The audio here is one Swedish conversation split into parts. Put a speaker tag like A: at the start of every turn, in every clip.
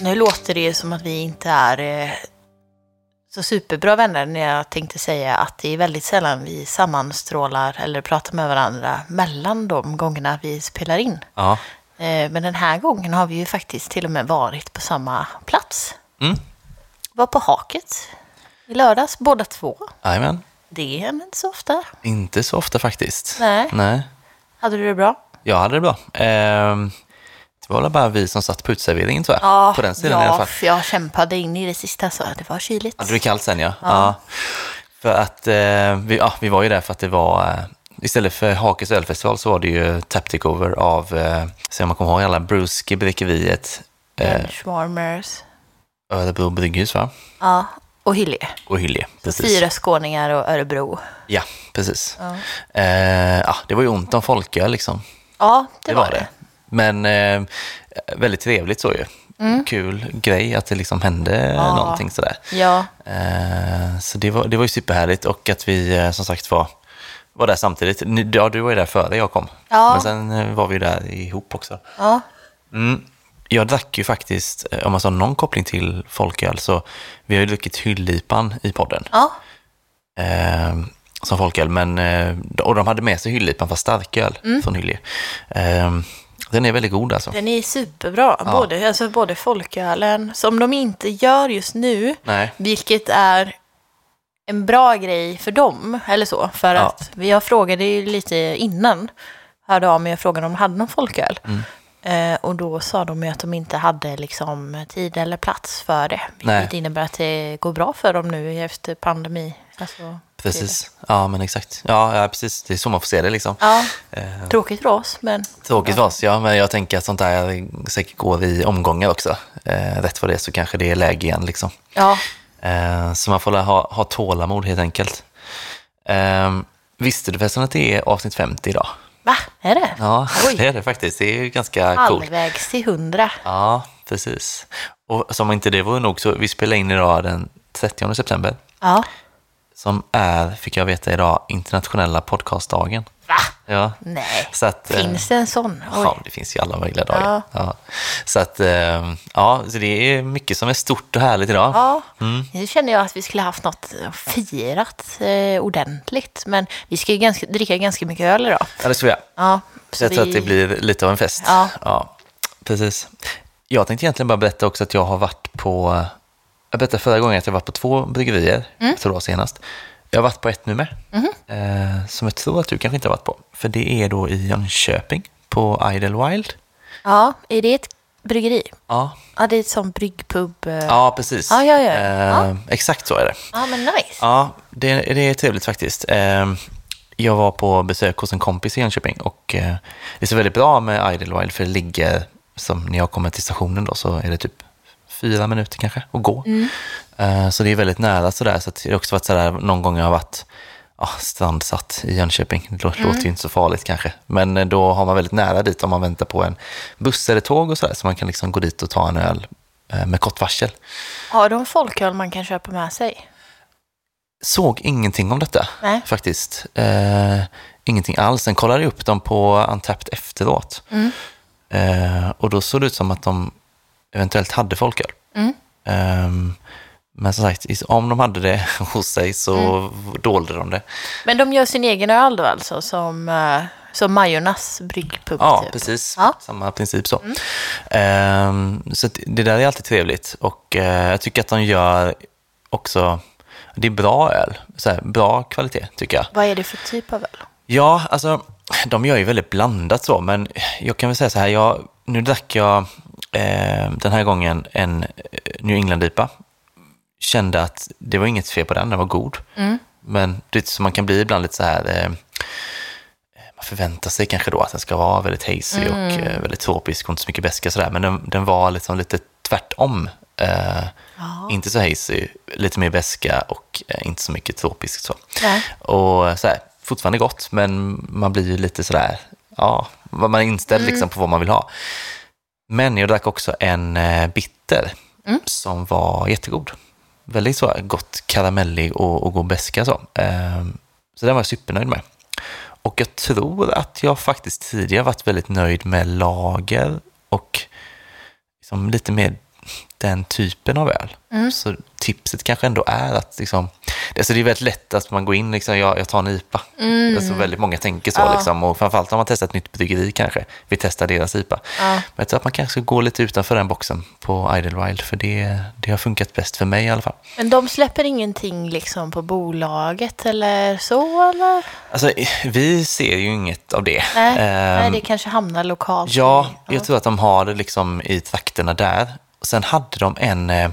A: låter det ju som att vi inte är eh, så superbra vänner när jag tänkte säga att det är väldigt sällan vi sammanstrålar eller pratar med varandra mellan de gångerna vi spelar in.
B: Ja.
A: Eh, Men den här gången har vi ju faktiskt till och med varit på samma plats.
B: Mm.
A: Var på Haket i lördags, båda två.
B: Jajamän.
A: Det händer inte så ofta.
B: Inte så ofta faktiskt.
A: Nej. Hade du det bra?
B: Jag hade det bra. Ehm, det var väl bara vi som satt på uteserveringen tror jag. på den sidan
A: ja,
B: i alla fall.
A: för jag kämpade in i det sista så det var kyligt.
B: Ja, det blir kallt sen ja. ja. För att eh, vi, ja, vi var ju där för att det var, eh, istället för Hakes ölfestival så var det ju tap takeover av, eh, se om man kommer ihåg alla, Bruski, Bräckeviet, eh,
A: Benchwarmers.
B: Örebro brygghus va?
A: Ja, och Hyllie.
B: Och Hyllie. Precis.
A: Fyra skåningar och Örebro.
B: Ja, precis.
A: Ja,
B: Eh, ja, det var ju ont om folköl liksom.
A: ja det,
B: Det var det. Men eh, väldigt trevligt så ju. Mm. Kul grej att det liksom hände
A: Ja.
B: någonting sådär.
A: Ja,
B: Eh, så det var, det var ju superhärligt och att vi eh, som sagt var, var där samtidigt. Ni- Ja, du var ju där före jag kom.
A: Ja.
B: Men sen eh, var vi ju där ihop också.
A: ja.
B: Mm. Jag drack ju faktiskt, eh, om man har någon koppling till folköl, så vi har ju druckit hyllipan i podden
A: ja.
B: eh, som folköl. Men, eh, och de hade med sig hyllipan fast starköl från Hyllie. Eh, den är väldigt god alltså.
A: Den är superbra. Både, alltså, både folkölen, som de inte gör just nu,
B: Nej.
A: vilket är en bra grej för dem, eller så. För
B: Ja.
A: att jag frågade ju lite innan, hörde av mig och frågade om de hade någon folköl.
B: Mm.
A: Eh, och då sa de ju att de inte hade liksom, tid eller plats för det.
B: Nej.
A: Vilket innebär att det går bra för dem nu efter pandemi. Alltså,
B: Precis. Ja, men exakt. Ja, ja, precis. Det är så man får se det liksom.
A: Ja,
B: Eh,
A: tråkigt för oss, men
B: Tråkigt för oss, ja, men jag tänker att sånt där säkert går i omgångar också. Eh, rätt vad det är så kanske det är läge igen liksom.
A: ja,
B: Eh, så man får la- ha, ha tålamod helt enkelt. Eh, visste du förresten att det är avsnitt 50 idag?
A: va? Är det?
B: Ja,
A: Oj.
B: det är det faktiskt. Det är ju ganska coolt.
A: Halvvägs till hundra.
B: Ja, precis. Och som om inte det vore nog så, vi spelar in idag den 30 september,
A: Ja.
B: som är, fick jag veta idag, internationella podcastdagen.
A: Va?
B: Ja.
A: Nej.
B: Så att, eh,
A: Finns det en sån?
B: Ja,
A: Oj.
B: det finns ju alla möjliga dagar.
A: Ja.
B: Ja. Så att, eh, ja, så det är mycket som är stort och härligt idag.
A: Ja,
B: Mm.
A: nu känner jag att vi skulle haft något eh, firat eh, ordentligt. Men vi ska ju ganska, dricka ganska mycket öl idag.
B: Ja, det tror jag.
A: Ja, så
B: jag tror
A: vi-
B: att det blir lite av en fest.
A: Ja.
B: precis. Jag tänkte egentligen bara berätta också att jag har varit på, jag berättade förra gången att jag var på två bryggerier,
A: Mm.
B: jag tror det var senast. Jag har varit på ett nu med,
A: Mhm.
B: eh, som jag tror att du kanske inte har varit på. För det är då i Jönköping, på Idlewild.
A: Ja, är det ett bryggeri?
B: Ja,
A: Ja, det är ett sånt bryggpub. eh.
B: ja precis.
A: Ja, ja, ja.
B: Eh,
A: Ja.
B: Exakt så är det.
A: ja men nice.
B: Ja, det, det är trevligt faktiskt. Eh, Jag var på besök hos en kompis i Jönköping och eh, det är så väldigt bra med Idlewild för det ligger, som när jag kommer till stationen då, så är det typ fyra minuter kanske att gå. Eh, Så det är väldigt nära sådär. Så att det har också varit sådär någon gång jag har varit ja, strandsatt i Jönköping. Det lå- låter ju inte så farligt kanske. Men eh, då har man väldigt nära dit om man väntar på en buss eller tåg och sådär. Så man kan liksom gå dit och ta en öl eh, med kort varsel.
A: Har de folköl man kan köpa med sig?
B: såg ingenting om detta
A: Nej.
B: faktiskt. Eh, ingenting alls. Sen kollade jag upp dem på Untapped efteråt.
A: Mm.
B: Eh, och då såg det ut som att de eventuellt hade folköl.
A: Mm.
B: Ehm, men som sagt, is- om de hade det hos sig så
A: Mm.
B: dolde de det.
A: Men de gör sin egen öl då alltså, som, eh, som Majornas bryggpub
B: Ja,
A: typ?
B: precis.
A: Ja. Mm.
B: Samma princip så. Ehm, så att det där är alltid trevligt. Och eh, jag tycker att de gör också... Det är bra öl. Så här, bra kvalitet, tycker jag.
A: Vad är det för typ av öl?
B: Ja, alltså de gör ju väldigt blandat så, men jag kan väl säga så här, jag, nu drack jag eh, den här gången en eh, New England-IPA. Kände att det var inget fel på den, den var god. Men det är så man kan bli ibland lite så här, eh, man förväntar sig kanske då att den ska vara väldigt hazy och eh, väldigt tropisk och inte så mycket beska sådär, men den, den var liksom lite tvärtom. Eh, Inte så hazy, lite mer beska och eh, inte så mycket tropiskt så.
A: Nej.
B: Och så här, fortfarande gott, men man blir ju lite sådär, ja, vad man är inställd liksom på vad man vill ha. Men jag drack också en eh, bitter som var jättegod. Väldigt så här gott karamellig och, och god beska så. Ehm, Så den var jag supernöjd med. Och jag tror att jag faktiskt tidigare varit väldigt nöjd med lager och liksom lite mer den typen av öl.
A: Mm.
B: Så tipset kanske ändå är att liksom, alltså det är väldigt lätt att man går in liksom, jag, jag tar en IPA.
A: Mm.
B: Alltså väldigt många tänker så
A: Ja.
B: liksom, och framförallt om man testar ett nytt bryggeri kanske, vi testar deras IPA.
A: Ja.
B: Men jag tror att man kanske ska gå lite utanför den boxen på Idlewild, för det, det har funkat bäst för mig i alla fall.
A: Men de släpper ingenting liksom på bolaget eller så eller?
B: Alltså, vi ser ju inget av det.
A: Nej,
B: Ehm,
A: Nej det kanske hamnar lokalt.
B: Ja, jag tror att de har det liksom i trakterna där. Och sen hade de en, eh,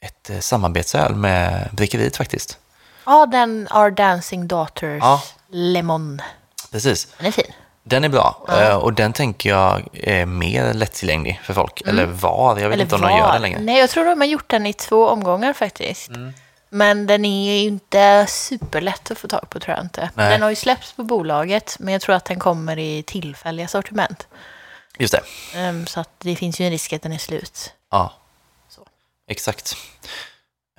B: ett eh, samarbetsöl med Brickeriet faktiskt.
A: Ja, den Our Dancing Daughters
B: Ja.
A: Lemon.
B: Precis.
A: Den är fin.
B: Den är bra Eh, och den tänker jag är mer lättillgänglig för folk. Mm. Eller var, jag vet inte om de gör
A: var.
B: det längre. Mm.
A: Nej, jag tror de har gjort den i två omgångar faktiskt. Men den är ju inte superlätt att få tag på tror jag inte.
B: Nej.
A: Den har ju släppts på bolaget, men jag tror att den kommer i tillfälliga sortiment.
B: Just det,
A: Ehm, så att det finns ju en risk att den är slut.
B: ja.
A: Så.
B: Exakt.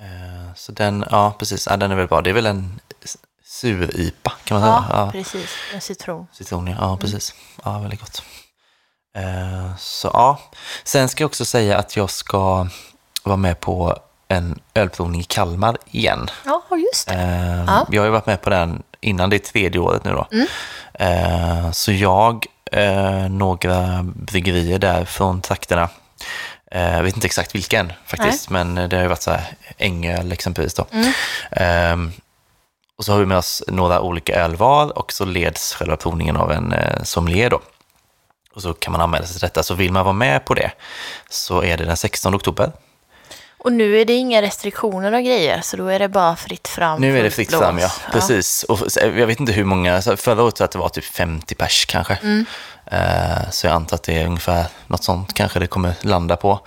B: Eh, Så den, ja precis, ja, den är väl bra. Det är väl en s- sur-IPA kan man
A: Ja,
B: säga. Ja.
A: precis. En citron.
B: Citron, ja. ja precis. Mm. Ja, väldigt gott. Eh, så ja, sen ska jag också säga att jag ska vara med på en ölprovning i Kalmar igen.
A: Ja, just det.
B: Eh,
A: Ja. Mm.
B: Jag har ju varit med på den innan, det är tredje året nu då. Eh, så jag, eh, några bryggerier där från trakterna, eh, jag vet inte exakt vilken faktiskt, men det har ju varit så här Ängöl exempelvis då.
A: Mm.
B: Eh, och så har vi med oss några olika ölval och så leds själva provningen av en eh, sommelier då. Och så kan man anmäla sig till detta. Så vill man vara med på det så är det den 16 oktober.
A: Och nu är det inga restriktioner och grejer, så då är det bara fritt fram.
B: Nu är det
A: fullt
B: fritt
A: blås.
B: fram, ja. Precis. Och så- jag vet inte hur många, så förra året tror jag att det var typ 50 pers kanske.
A: Mm.
B: Eh, Så jag antar att det är ungefär något sånt kanske det kommer landa på.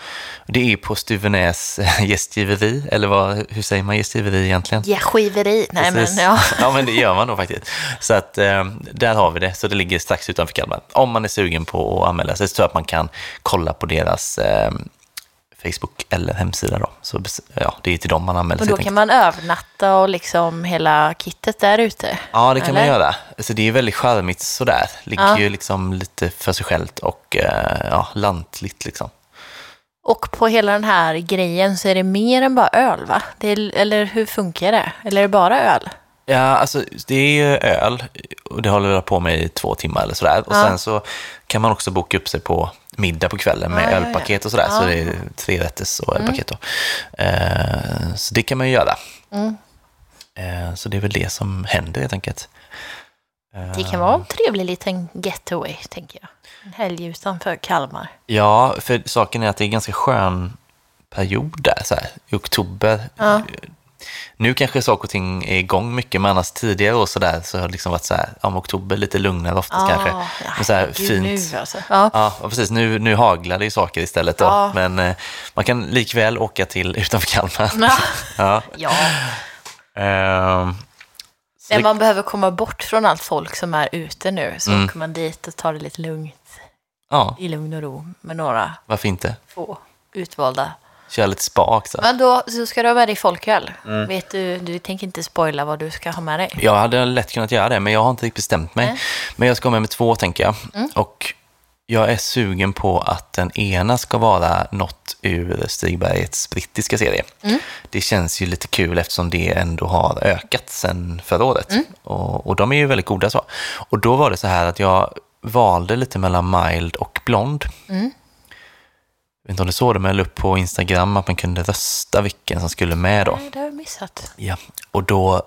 B: Det är på Stuvenäs eh, gästgiveri, eller vad, hur säger man gästgiveri egentligen?
A: Ja, skiveri. Nej,
B: Precis.
A: men ja.
B: ja, men det gör man nog faktiskt. Så att eh, där har vi det. Så det ligger strax utanför Kalmar. Om man är sugen på att anmäla sig så tror jag att man kan kolla på deras eh, Facebook eller hemsida då. Så bes- ja, det är till dem man anmäler
A: Och
B: sig.
A: då
B: tänkte
A: kan man övernatta och liksom hela kittet där ute.
B: Ja, det kan man
A: Eller?
B: göra. Alltså, det är väldigt charmigt sådär. Ligger
A: Ja.
B: ju liksom lite för sig självt och eh, ja, lantligt liksom.
A: Och på hela den här grejen så är det mer än bara öl, va? Det är, eller hur funkar det? Eller är det bara öl?
B: Ja, alltså det är ju öl och det håller jag på med i två timmar eller sådär. Och
A: Ja.
B: sen så kan man också boka upp sig på middag på kvällen med
A: Ja, ja, ja.
B: ölpaket och sådär. Så
A: Ja.
B: det är tre rätters och ölpaket då. Eh, så det kan man ju göra.
A: Mm.
B: Eh, så det är väl det som händer helt enkelt. Eh,
A: Det kan vara en trevlig liten getaway, tänker jag. En helg utanför Kalmar.
B: Ja, för saken är att det är en ganska skön period där, så här, i oktober.
A: Ja.
B: Nu kanske saker och ting är igång mycket, men annars tidigare år så, där, så har det liksom varit så här, om oktober lite lugnare oftast kanske. Men så här,
A: herregud,
B: fint.
A: Nu, alltså. ja.
B: Ja, och precis. Nu, nu haglar det ju saker istället då.
A: Ja.
B: Men eh, man kan likväl åka till utanför Kalmar.
A: Ja.
B: Ja.
A: ja.
B: Ehm, så
A: Men
B: det,
A: man behöver komma bort från allt folk som är ute nu. Så
B: Mm.
A: åker man dit och tar det lite lugnt,
B: ja,
A: i lugn och ro, med några
B: varför inte?
A: få utvalda.
B: Köra lite spa också.
A: Men då så ska du ha med dig folköl.
B: Mm.
A: Vet du, du tänker inte spoila vad du ska ha med dig.
B: Jag hade lätt kunnat göra det, men jag har inte riktigt bestämt mig.
A: Nej.
B: Men jag ska ha med mig två, tänker jag. Och jag är sugen på att den ena ska vara något ur Stigbergets brittiska serie. Det känns ju lite kul eftersom det ändå har ökat sen förra året. Och, och de är ju väldigt goda så. Och då var det så här att jag valde lite mellan mild och blond. Jag vet inte om du såg det, men jag la upp på Instagram att man kunde rösta vilken som skulle med då.
A: Nej, det har jag missat.
B: Ja. Och då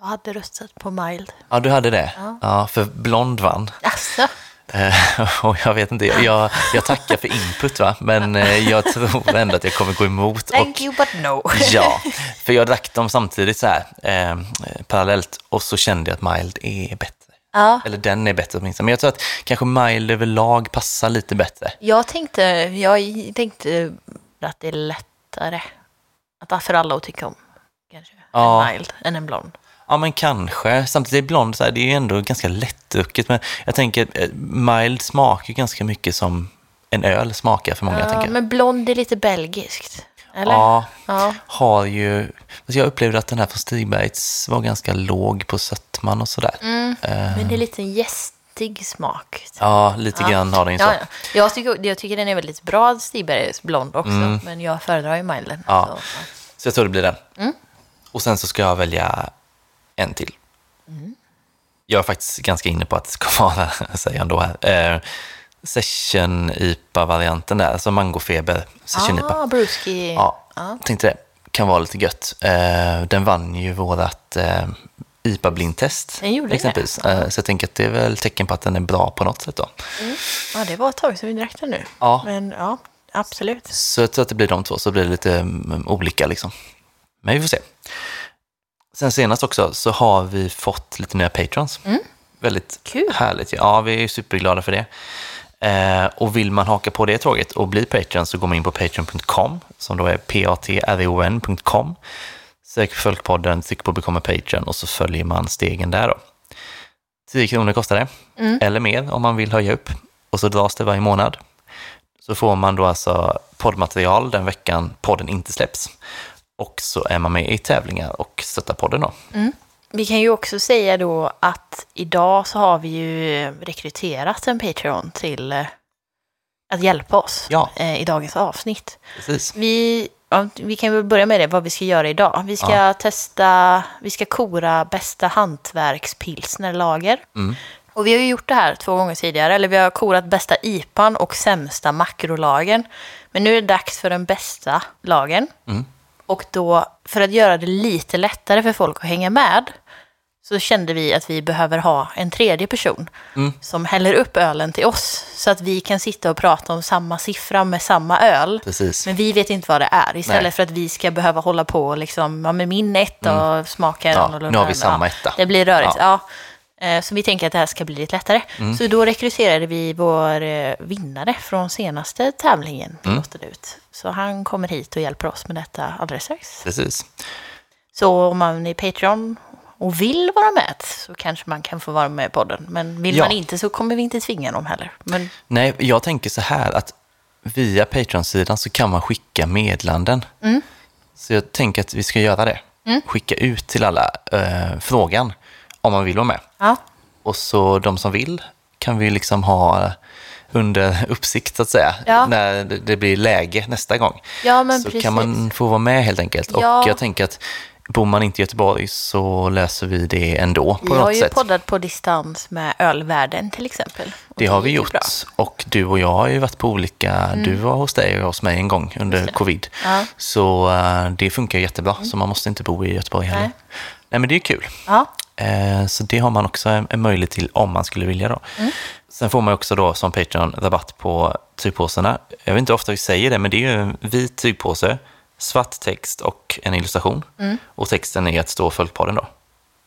A: Jag hade röstat på mild.
B: Ja, du hade det?
A: Ja.
B: Ja, för Blond vann.
A: Alltså,
B: Eh, Och jag vet inte, jag, jag tackar för input va, men eh, jag tror ändå att jag kommer gå emot. Och,
A: thank you but no.
B: ja, för jag drack dem samtidigt så här, eh, parallellt, och så kände jag att mild är bättre.
A: Ja,
B: Eller den är bättre åtminstone, men jag tror att kanske mild överlag passar lite bättre.
A: jag tänkte, jag tänkte att det är lättare att för alla att tycka om. Kanske.
B: Ja.
A: En mild än en blond.
B: Ja, men kanske. Samtidigt är blond, så här, det är ju ändå ganska lättdrucket, men jag tänker, eh, mild smakar ju ganska mycket som en öl smakar för många, tänker
A: Ja,
B: jag.
A: men blond är lite belgiskt. Eller?
B: Ja,
A: Ja.
B: har ju... Alltså jag upplevde att den här från Stigbergs var ganska låg på sötman och sådär.
A: Mm. Men det är lite en gäst fruktig smak.
B: Ja, lite grann har den ju så.
A: Ja, ja. Jag, tycker, jag tycker den är väldigt bra, Stibergs blond också, men jag föredrar ju Milen.
B: Mm. Ja.
A: Så,
B: Så jag tror det blir den.
A: Mm.
B: Och sen så ska jag välja en till.
A: Mm.
B: Jag är faktiskt ganska inne på att det ska vara, säger jag ändå här, eh, session-IPA-varianten där, alltså mangofeber, session-IPA.
A: ah, Bruski.
B: Ja, tänkte det. Kan vara lite gött. Eh, den vann ju vårat eh, IPA-blindtest.
A: Den gjorde det. alltså.
B: exempelvis. Eh, så jag tänker att det är väl tecken på att den är bra på något sätt då.
A: Ja, det var ett tag sedan vi drack den nu.
B: Ja.
A: Men ja, absolut.
B: Så jag tror att det blir de två, så blir det lite mm, olika liksom. Men vi får se. Sen senast också så har vi fått lite nya patrons. Väldigt
A: Kul.
B: härligt. ju. Ja, vi är superglada för det. Eh, och vill man haka på det tåget och bli Patreon så går man in på patreon.com som då är patreon.com. Sök Folkpodden, tryck på Become a Patreon och så följer man stegen där då. 10 kronor kostar det, eller mer om man vill höja upp. Och så dras det varje månad. Så får man då alltså poddmaterial den veckan podden inte släpps. Och så är man med i tävlingar och stöttar podden då.
A: Vi kan ju också säga då att idag så har vi ju rekryterat en Patreon till eh, att hjälpa oss
B: Ja.
A: eh, i dagens avsnitt.
B: Precis.
A: Vi, ja, vi kan väl börja med det, vad vi ska göra idag. Vi ska testa, vi ska kora bästa hantverkspilsnerlager. Och vi har ju gjort det här två gånger tidigare, eller vi har korat bästa IPan och sämsta makrolagen. Men nu är det dags för den bästa lagen. Och då, för att göra det lite lättare för folk att hänga med, så kände vi att vi behöver ha en tredje person som häller upp ölen till oss. Så att vi kan sitta och prata om samma siffra med samma öl.
B: Precis.
A: Men vi vet inte vad det är. Istället
B: Nej.
A: för att vi ska behöva hålla på och liksom, ja men min etta smakar
B: Mm. Ja,
A: annorlunda.
B: nu har vi
A: än-
B: samma
A: ja,
B: etta.
A: Det blir rörigt, ja. Eh, Så vi tänker att det här ska bli lite lättare.
B: Mm.
A: Så då rekryterade vi vår eh, vinnare från senaste tävlingen.
B: Mm.
A: låter det ut. Så han kommer hit och hjälper oss med detta alldeles strax.
B: Precis.
A: Så om man är Patreon och vill vara med så kanske man kan få vara med i podden. Men vill
B: Ja.
A: man inte så kommer vi inte tvinga någon heller. Men
B: Nej, jag tänker så här att via Patreon-sidan så kan man skicka medlanden.
A: Mm.
B: Så jag tänker att vi ska göra det. Skicka ut till alla eh, frågan om man vill vara med.
A: ja,
B: Och så de som vill kan vi liksom ha under uppsikt så att säga,
A: Ja.
B: när det- det blir läge nästa gång.
A: Ja, men
B: så
A: precis.
B: kan man få vara med helt enkelt.
A: Ja.
B: Och jag tänker att bor man inte i Göteborg så löser vi det ändå på
A: vi har
B: något
A: ju
B: sätt.
A: poddat på distans med ölvärlden till exempel. Och
B: Det har vi
A: gick ju
B: gjort.
A: bra. Mm.
B: Och du och jag har ju varit på olika, du var hos dig och jag hos mig en gång under covid.
A: Ja. Mm.
B: Så eh, det funkar jättebra, så man måste inte bo i Göteborg heller.
A: Nej.
B: Nej, men det är kul.
A: Ja,
B: Eh, Så det har man också en en möjlighet till om man skulle vilja. Då.
A: Mm.
B: Sen får man också då som Patreon rabatt på tygpåsarna. Jag vet inte hur ofta vi säger det, men det är ju en vit tygpåse, svart text och en illustration.
A: Mm.
B: Och texten är att stå Folkpodden då.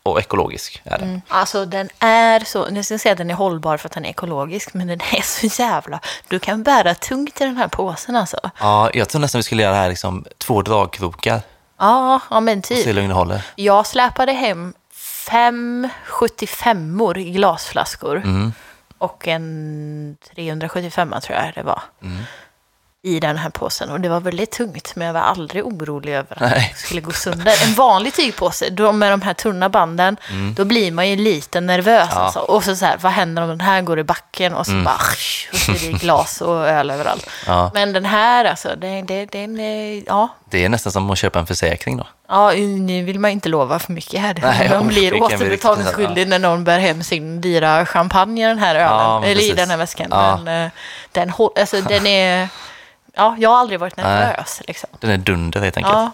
B: Och ekologisk är den.
A: Alltså den är så, nu ska jag säga att den är hållbar för att den är ekologisk, men den är så jävla, du kan bära tungt i den här påsen alltså.
B: Ja, jag tror nästan vi skulle göra det här liksom två dragkrokar.
A: Ja, ja men
B: Se hur
A: typ.
B: länge det håller.
A: Jag släpade hem fem 75or i glasflaskor
B: Mm.
A: och en 375 tror jag det var.
B: Mm.
A: i den här påsen och det var väldigt tungt men jag var aldrig orolig över att
B: Nej.
A: det skulle gå sönder. En vanlig tygpåse då med de här tunna banden,
B: Mm.
A: då blir man ju lite nervös. Alltså. Och så, så här, vad händer om den här går i backen och så bara, och så är det glas och öl överallt.
B: Mm. Ja.
A: Men den här alltså, det, det, den är, ja,
B: Det är nästan som att köpa en försäkring då.
A: Ja, nu vill man inte lova för mycket här.
B: Nej,
A: man
B: och det
A: blir
B: kan bli riktigt
A: återbetalningsskyldig när någon bär hem sin dyra champagne i den här ölen,
B: Ja, men
A: eller i
B: precis.
A: den här väskan.
B: Ja.
A: Men, eh, den, hå- alltså, den är... Ja, jag har aldrig varit nervös. Liksom.
B: Den är dunder helt enkelt.
A: Ja,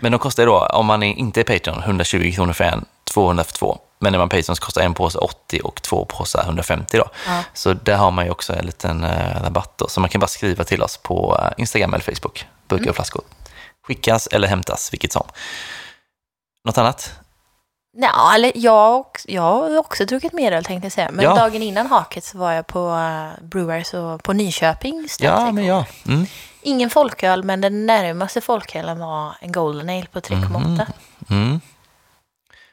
B: Men de kostar ju då, om man är inte är Patreon, 120 kronor för en, 200 för två. Men när man är Patreon så kostar en påse 80 och två påsar 150 då. Så där har man ju också en liten eh, rabatt då. Så man kan bara skriva till oss på eh, Instagram eller Facebook, burkar
A: Mm.
B: och flaskor. Skickas eller hämtas, vilket som. Något annat?
A: Nej, eller jag, och- jag har också druckit mer öl tänkte jag säga. Men
B: Ja.
A: dagen innan haket så var jag på eh, Brewers och på Nyköping. strax
B: Ja,
A: igår.
B: men ja. Mm.
A: Ingen folköl, men den närmaste folkölen var en Golden Ale på 3,8.
B: Mm.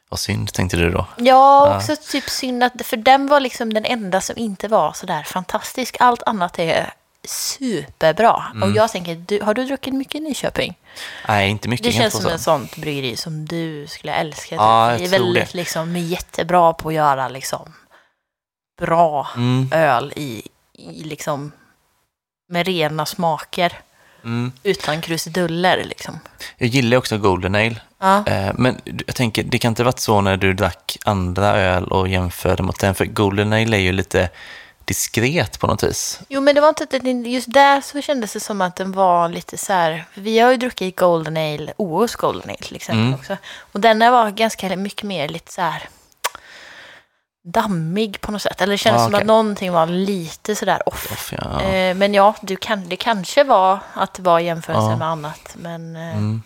B: Vad synd, tänkte du då.
A: Ja, också typ synd att, för den var liksom den enda som inte var sådär fantastisk. Allt annat är superbra. Och
B: Mm.
A: jag tänker, du, har du druckit mycket i Nyköping?
B: Nej, inte mycket.
A: Det
B: kan jag
A: känns som
B: påstå.
A: ett sånt bryggeri som du skulle älska.
B: Ja,
A: typ.
B: jag
A: det är
B: tror
A: väldigt
B: det.
A: liksom, jättebra på att göra liksom bra
B: Mm,
A: öl i, i liksom med rena smaker
B: mm.
A: utan krusiduller liksom.
B: Jag gillar också Golden Ale.
A: Ja,
B: Eh, Men jag tänker, det kan inte varit så när du drack andra öl och jämförde mot den, för Golden Ale är ju lite diskret på något vis.
A: jo men det var inte att den, just där så kändes det som att den var lite så här, för vi har ju druckit Golden Ale, OOs Golden Ale till exempel
B: Mm.
A: också. Och den här var ganska mycket mer lite så här dammig på något sätt. Eller det kändes
B: Ja,
A: som
B: Ah, okej.
A: att någonting var lite sådär off.
B: Off, ja.
A: Eh, Men ja, du kan, det kanske var att det var jämförelse
B: Ja.
A: med annat. Men eh,
B: Mm.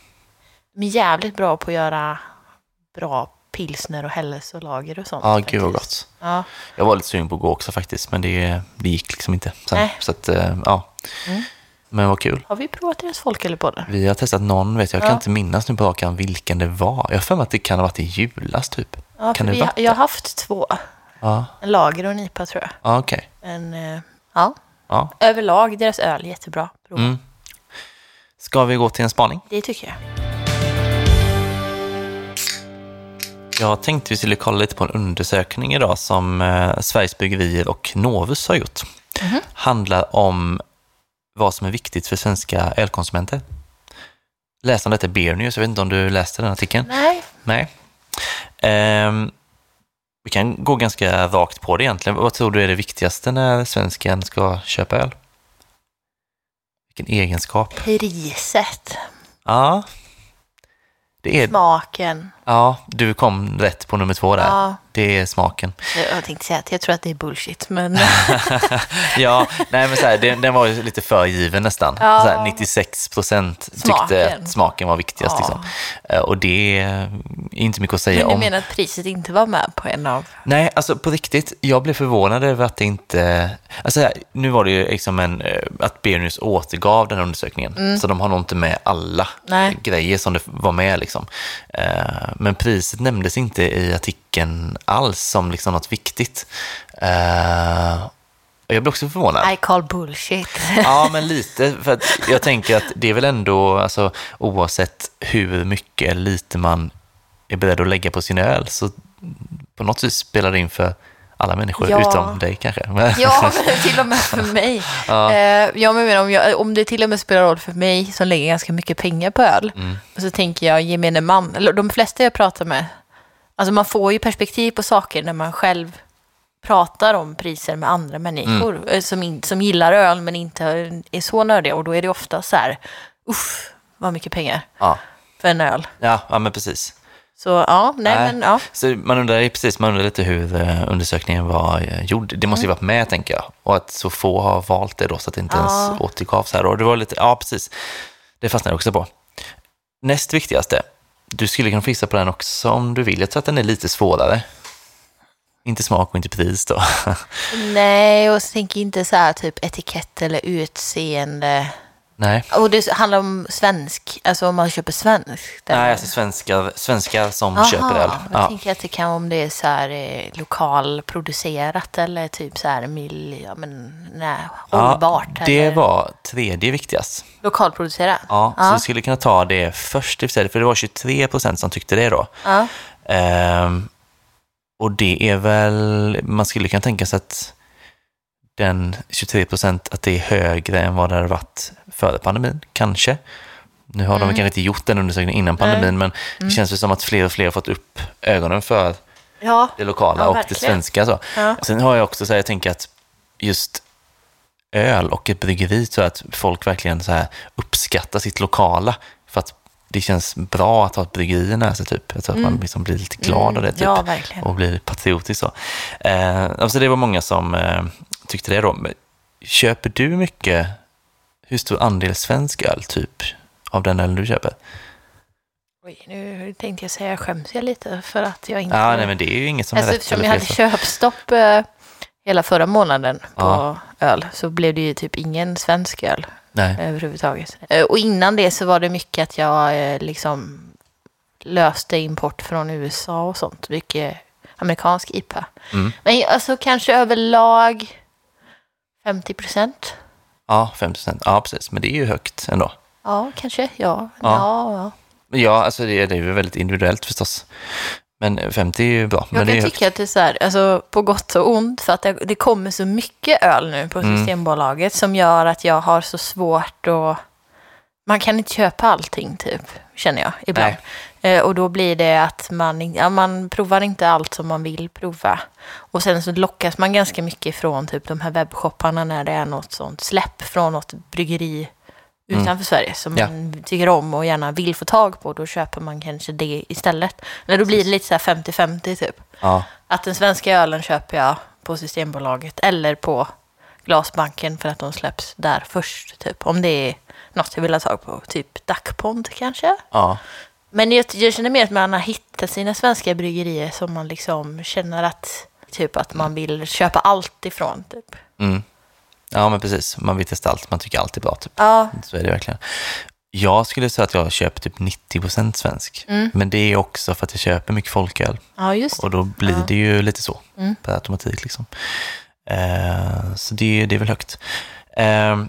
A: de är jävligt bra på att göra bra pilsner och helles och lager och sånt.
B: Ja,
A: faktiskt.
B: gud vad gott.
A: Ja.
B: Jag var lite sugen på att gå också faktiskt, men det, det gick liksom inte. Sen.
A: Nej.
B: Så att, eh, ja.
A: Mm.
B: Men vad kul.
A: Har vi provat deras folköl på det?
B: Vi har testat någon, vet jag, jag
A: Ja.
B: kan inte minnas nu på rak arm vilken det var. Jag har för mig att det kan ha varit i julas typ.
A: Ja,
B: Kan
A: för
B: det
A: vi,
B: varit
A: jag har haft två.
B: Ja,
A: En lager och en IPA tror jag.
B: ja okej.
A: Men eh, ja,
B: Ja.
A: överlag deras öl jättebra. Prova.
B: Mm. Ska vi gå till en spaning?
A: Det tycker jag.
B: Jag tänkte vi skulle kolla lite på en undersökning idag som eh, Sveriges Bryggerier och Novus har gjort. Handlar om vad som är viktigt för svenska ölkonsumenter. Läsaren detta är Beer News, jag vet inte om du läste den artikeln?
A: Nej,
B: Nej. Ehm, vi kan gå ganska rakt på det egentligen. Vad tror du är det viktigaste när svensken ska köpa öl? Vilken egenskap?
A: priset,
B: Ja, det är...
A: smaken.
B: Ja, du kom rätt på nummer två där.
A: Ja,
B: Det är smaken.
A: jag tänkte säga att jag tror att det är bullshit, men
B: Ja, nej men så här, den, den var ju lite för given nästan.
A: Ja.
B: Så här, 96 procent tyckte
A: Smaken.
B: att smaken var viktigast.
A: Ja.
B: Liksom. Eh, Och det är inte mycket att säga
A: men du
B: om.
A: menar att priset inte var med på en av...
B: Nej, alltså på riktigt, jag blev förvånad över att det inte... Alltså här, nu var det ju liksom en, eh, att Bernius återgav den här undersökningen, så de har nog inte med alla
A: Mm. Nej.
B: grejer som det var med. Liksom. Eh, Men priset nämndes inte i artikeln alls som liksom något viktigt. Eh, och Jag blev också förvånad.
A: I call bullshit.
B: Ja, men lite. För att jag tänker att det är väl ändå, alltså, oavsett hur mycket eller lite man är beredd att lägga på sin öl, så på något vis spelar det in för alla människor,
A: Ja.
B: utom dig kanske. Men,
A: Ja, men till och med för mig. Ja. Eh, jag menar, om, jag, om det till och med spelar roll för mig som lägger ganska mycket pengar på öl, och så tänker jag gemene man, eller de flesta jag pratar med, alltså man får ju perspektiv på saker när man själv pratar om priser med andra människor eh, som, in, som gillar öl men inte är så nördiga och då är det ofta så här, uff, vad mycket pengar
B: ja.
A: för en öl.
B: Ja, ja, men precis.
A: Så ja, nej,
B: Nej.
A: men ja.
B: Så man undrar ju precis, man undrar lite hur eh, undersökningen var eh, gjord. Det
A: Mm.
B: måste ju varit med, tänker jag. Och att så få har valt det då, så att det inte
A: Ja.
B: ens återgavs här. Och det var lite, ja, precis. Det fastnade jag också på. Näst viktigaste, du skulle kunna fissa på den också om du vill. Jag tror att den är lite svårare. Inte smak och inte pris då.
A: Nej, och så tänker jag inte så här typ etikett eller utseende.
B: Nej.
A: Och det handlar om svensk, alltså om man köper svenskt? eller?
B: Nej, alltså svenskar, svenskar som
A: Aha,
B: köper öl.
A: Jag
B: Ja.
A: tänker att det kan vara om det är så här eh, lokalproducerat eller typ så här mil, ja, men, nej, hållbart.
B: Ja, det
A: eller
B: var tredje viktigast.
A: Lokalproducerat?
B: Ja,
A: Ja.
B: Så vi skulle kunna ta det först i och för sig, för det var 23 procent som tyckte det då.
A: Ja.
B: Ehm, och det är väl, man skulle kunna tänka sig att den 23 procent, att det är högre än vad det hade varit före pandemin, kanske. Nu har de
A: Mm.
B: väl kanske inte gjort den undersökningen innan pandemin, men det känns väl som att fler och fler har fått upp ögonen för
A: ja.
B: det lokala
A: Ja,
B: och det
A: verkligen.
B: svenska. Så.
A: Ja.
B: Sen har jag också så här, jag tänker att just öl och ett bryggeri, så att folk verkligen så här uppskattar sitt lokala. För att det känns bra att ha ett bryggeri nära sig, typ. Jag tror att man liksom blir lite glad av det, typ.
A: Mm. Ja, verkligen.
B: och blir patriotisk så. Eh, alltså det var många som eh, tyckte det då. Men Köper du mycket, hur stor andel svensk öl, typ, av den öl du köper?
A: Oj, nu tänkte jag säga, skäms jag lite för att jag inte...
B: Ja, nej, men det är ju inget som
A: alltså,
B: är rätt
A: eftersom
B: eller
A: jag
B: fel.
A: hade
B: så.
A: köpstopp eh, hela förra månaden på
B: Ja.
A: öl så blev det ju typ ingen svensk öl.
B: Nej.
A: överhuvudtaget. Eh, Och innan det så var det mycket att jag eh, liksom löste import från USA och sånt. Mycket amerikansk IPA.
B: Mm.
A: Men alltså kanske överlag 50 procent.
B: Ja, 5 procent. Ja, precis. Men det är ju högt ändå.
A: Ja, kanske. Ja.
B: Ja.
A: ja.
B: Ja, alltså det, det är ju väldigt individuellt förstås. Men 50 är ju bra.
A: Jag
B: men det är
A: kan
B: ju
A: tycka att det är så här, alltså, på gott och ont, för att det, det kommer så mycket öl nu på
B: Mm.
A: Systembolaget som gör att jag har så svårt att... Man kan inte köpa allting, typ, känner jag ibland. Eh, och då blir det att man, in- ja, man provar inte allt som man vill prova. Och sen så lockas man ganska mycket från typ, de här webbshopparna när det är något sånt släpp från något bryggeri utanför Sverige som
B: Mm. Ja.
A: man tycker om och gärna vill få tag på. Då köper man kanske det istället. Eller då blir det lite så här 50-50 typ.
B: ja,
A: Att den svenska ölen köper jag på Systembolaget eller på Glasbanken för att de släpps där först. Typ. Om det är något jag vill ha tag på, typ Dacpond kanske.
B: ja.
A: Men jag, jag känner mer att man har hittat sina svenska bryggerier som man liksom känner att, typ, att man vill köpa allt ifrån. Typ.
B: Mm. Ja, men precis. Man vill testa allt. Man tycker allt är bra. Typ.
A: Ja,
B: Så är det verkligen. Jag skulle säga att jag köper typ 90% svensk.
A: Mm.
B: Men det är också för att jag köper mycket folköl.
A: ja Mm. just det.
B: Och då blir det ju lite så per automatik. Liksom. Eh, så det, är- det är väl högt. Eh,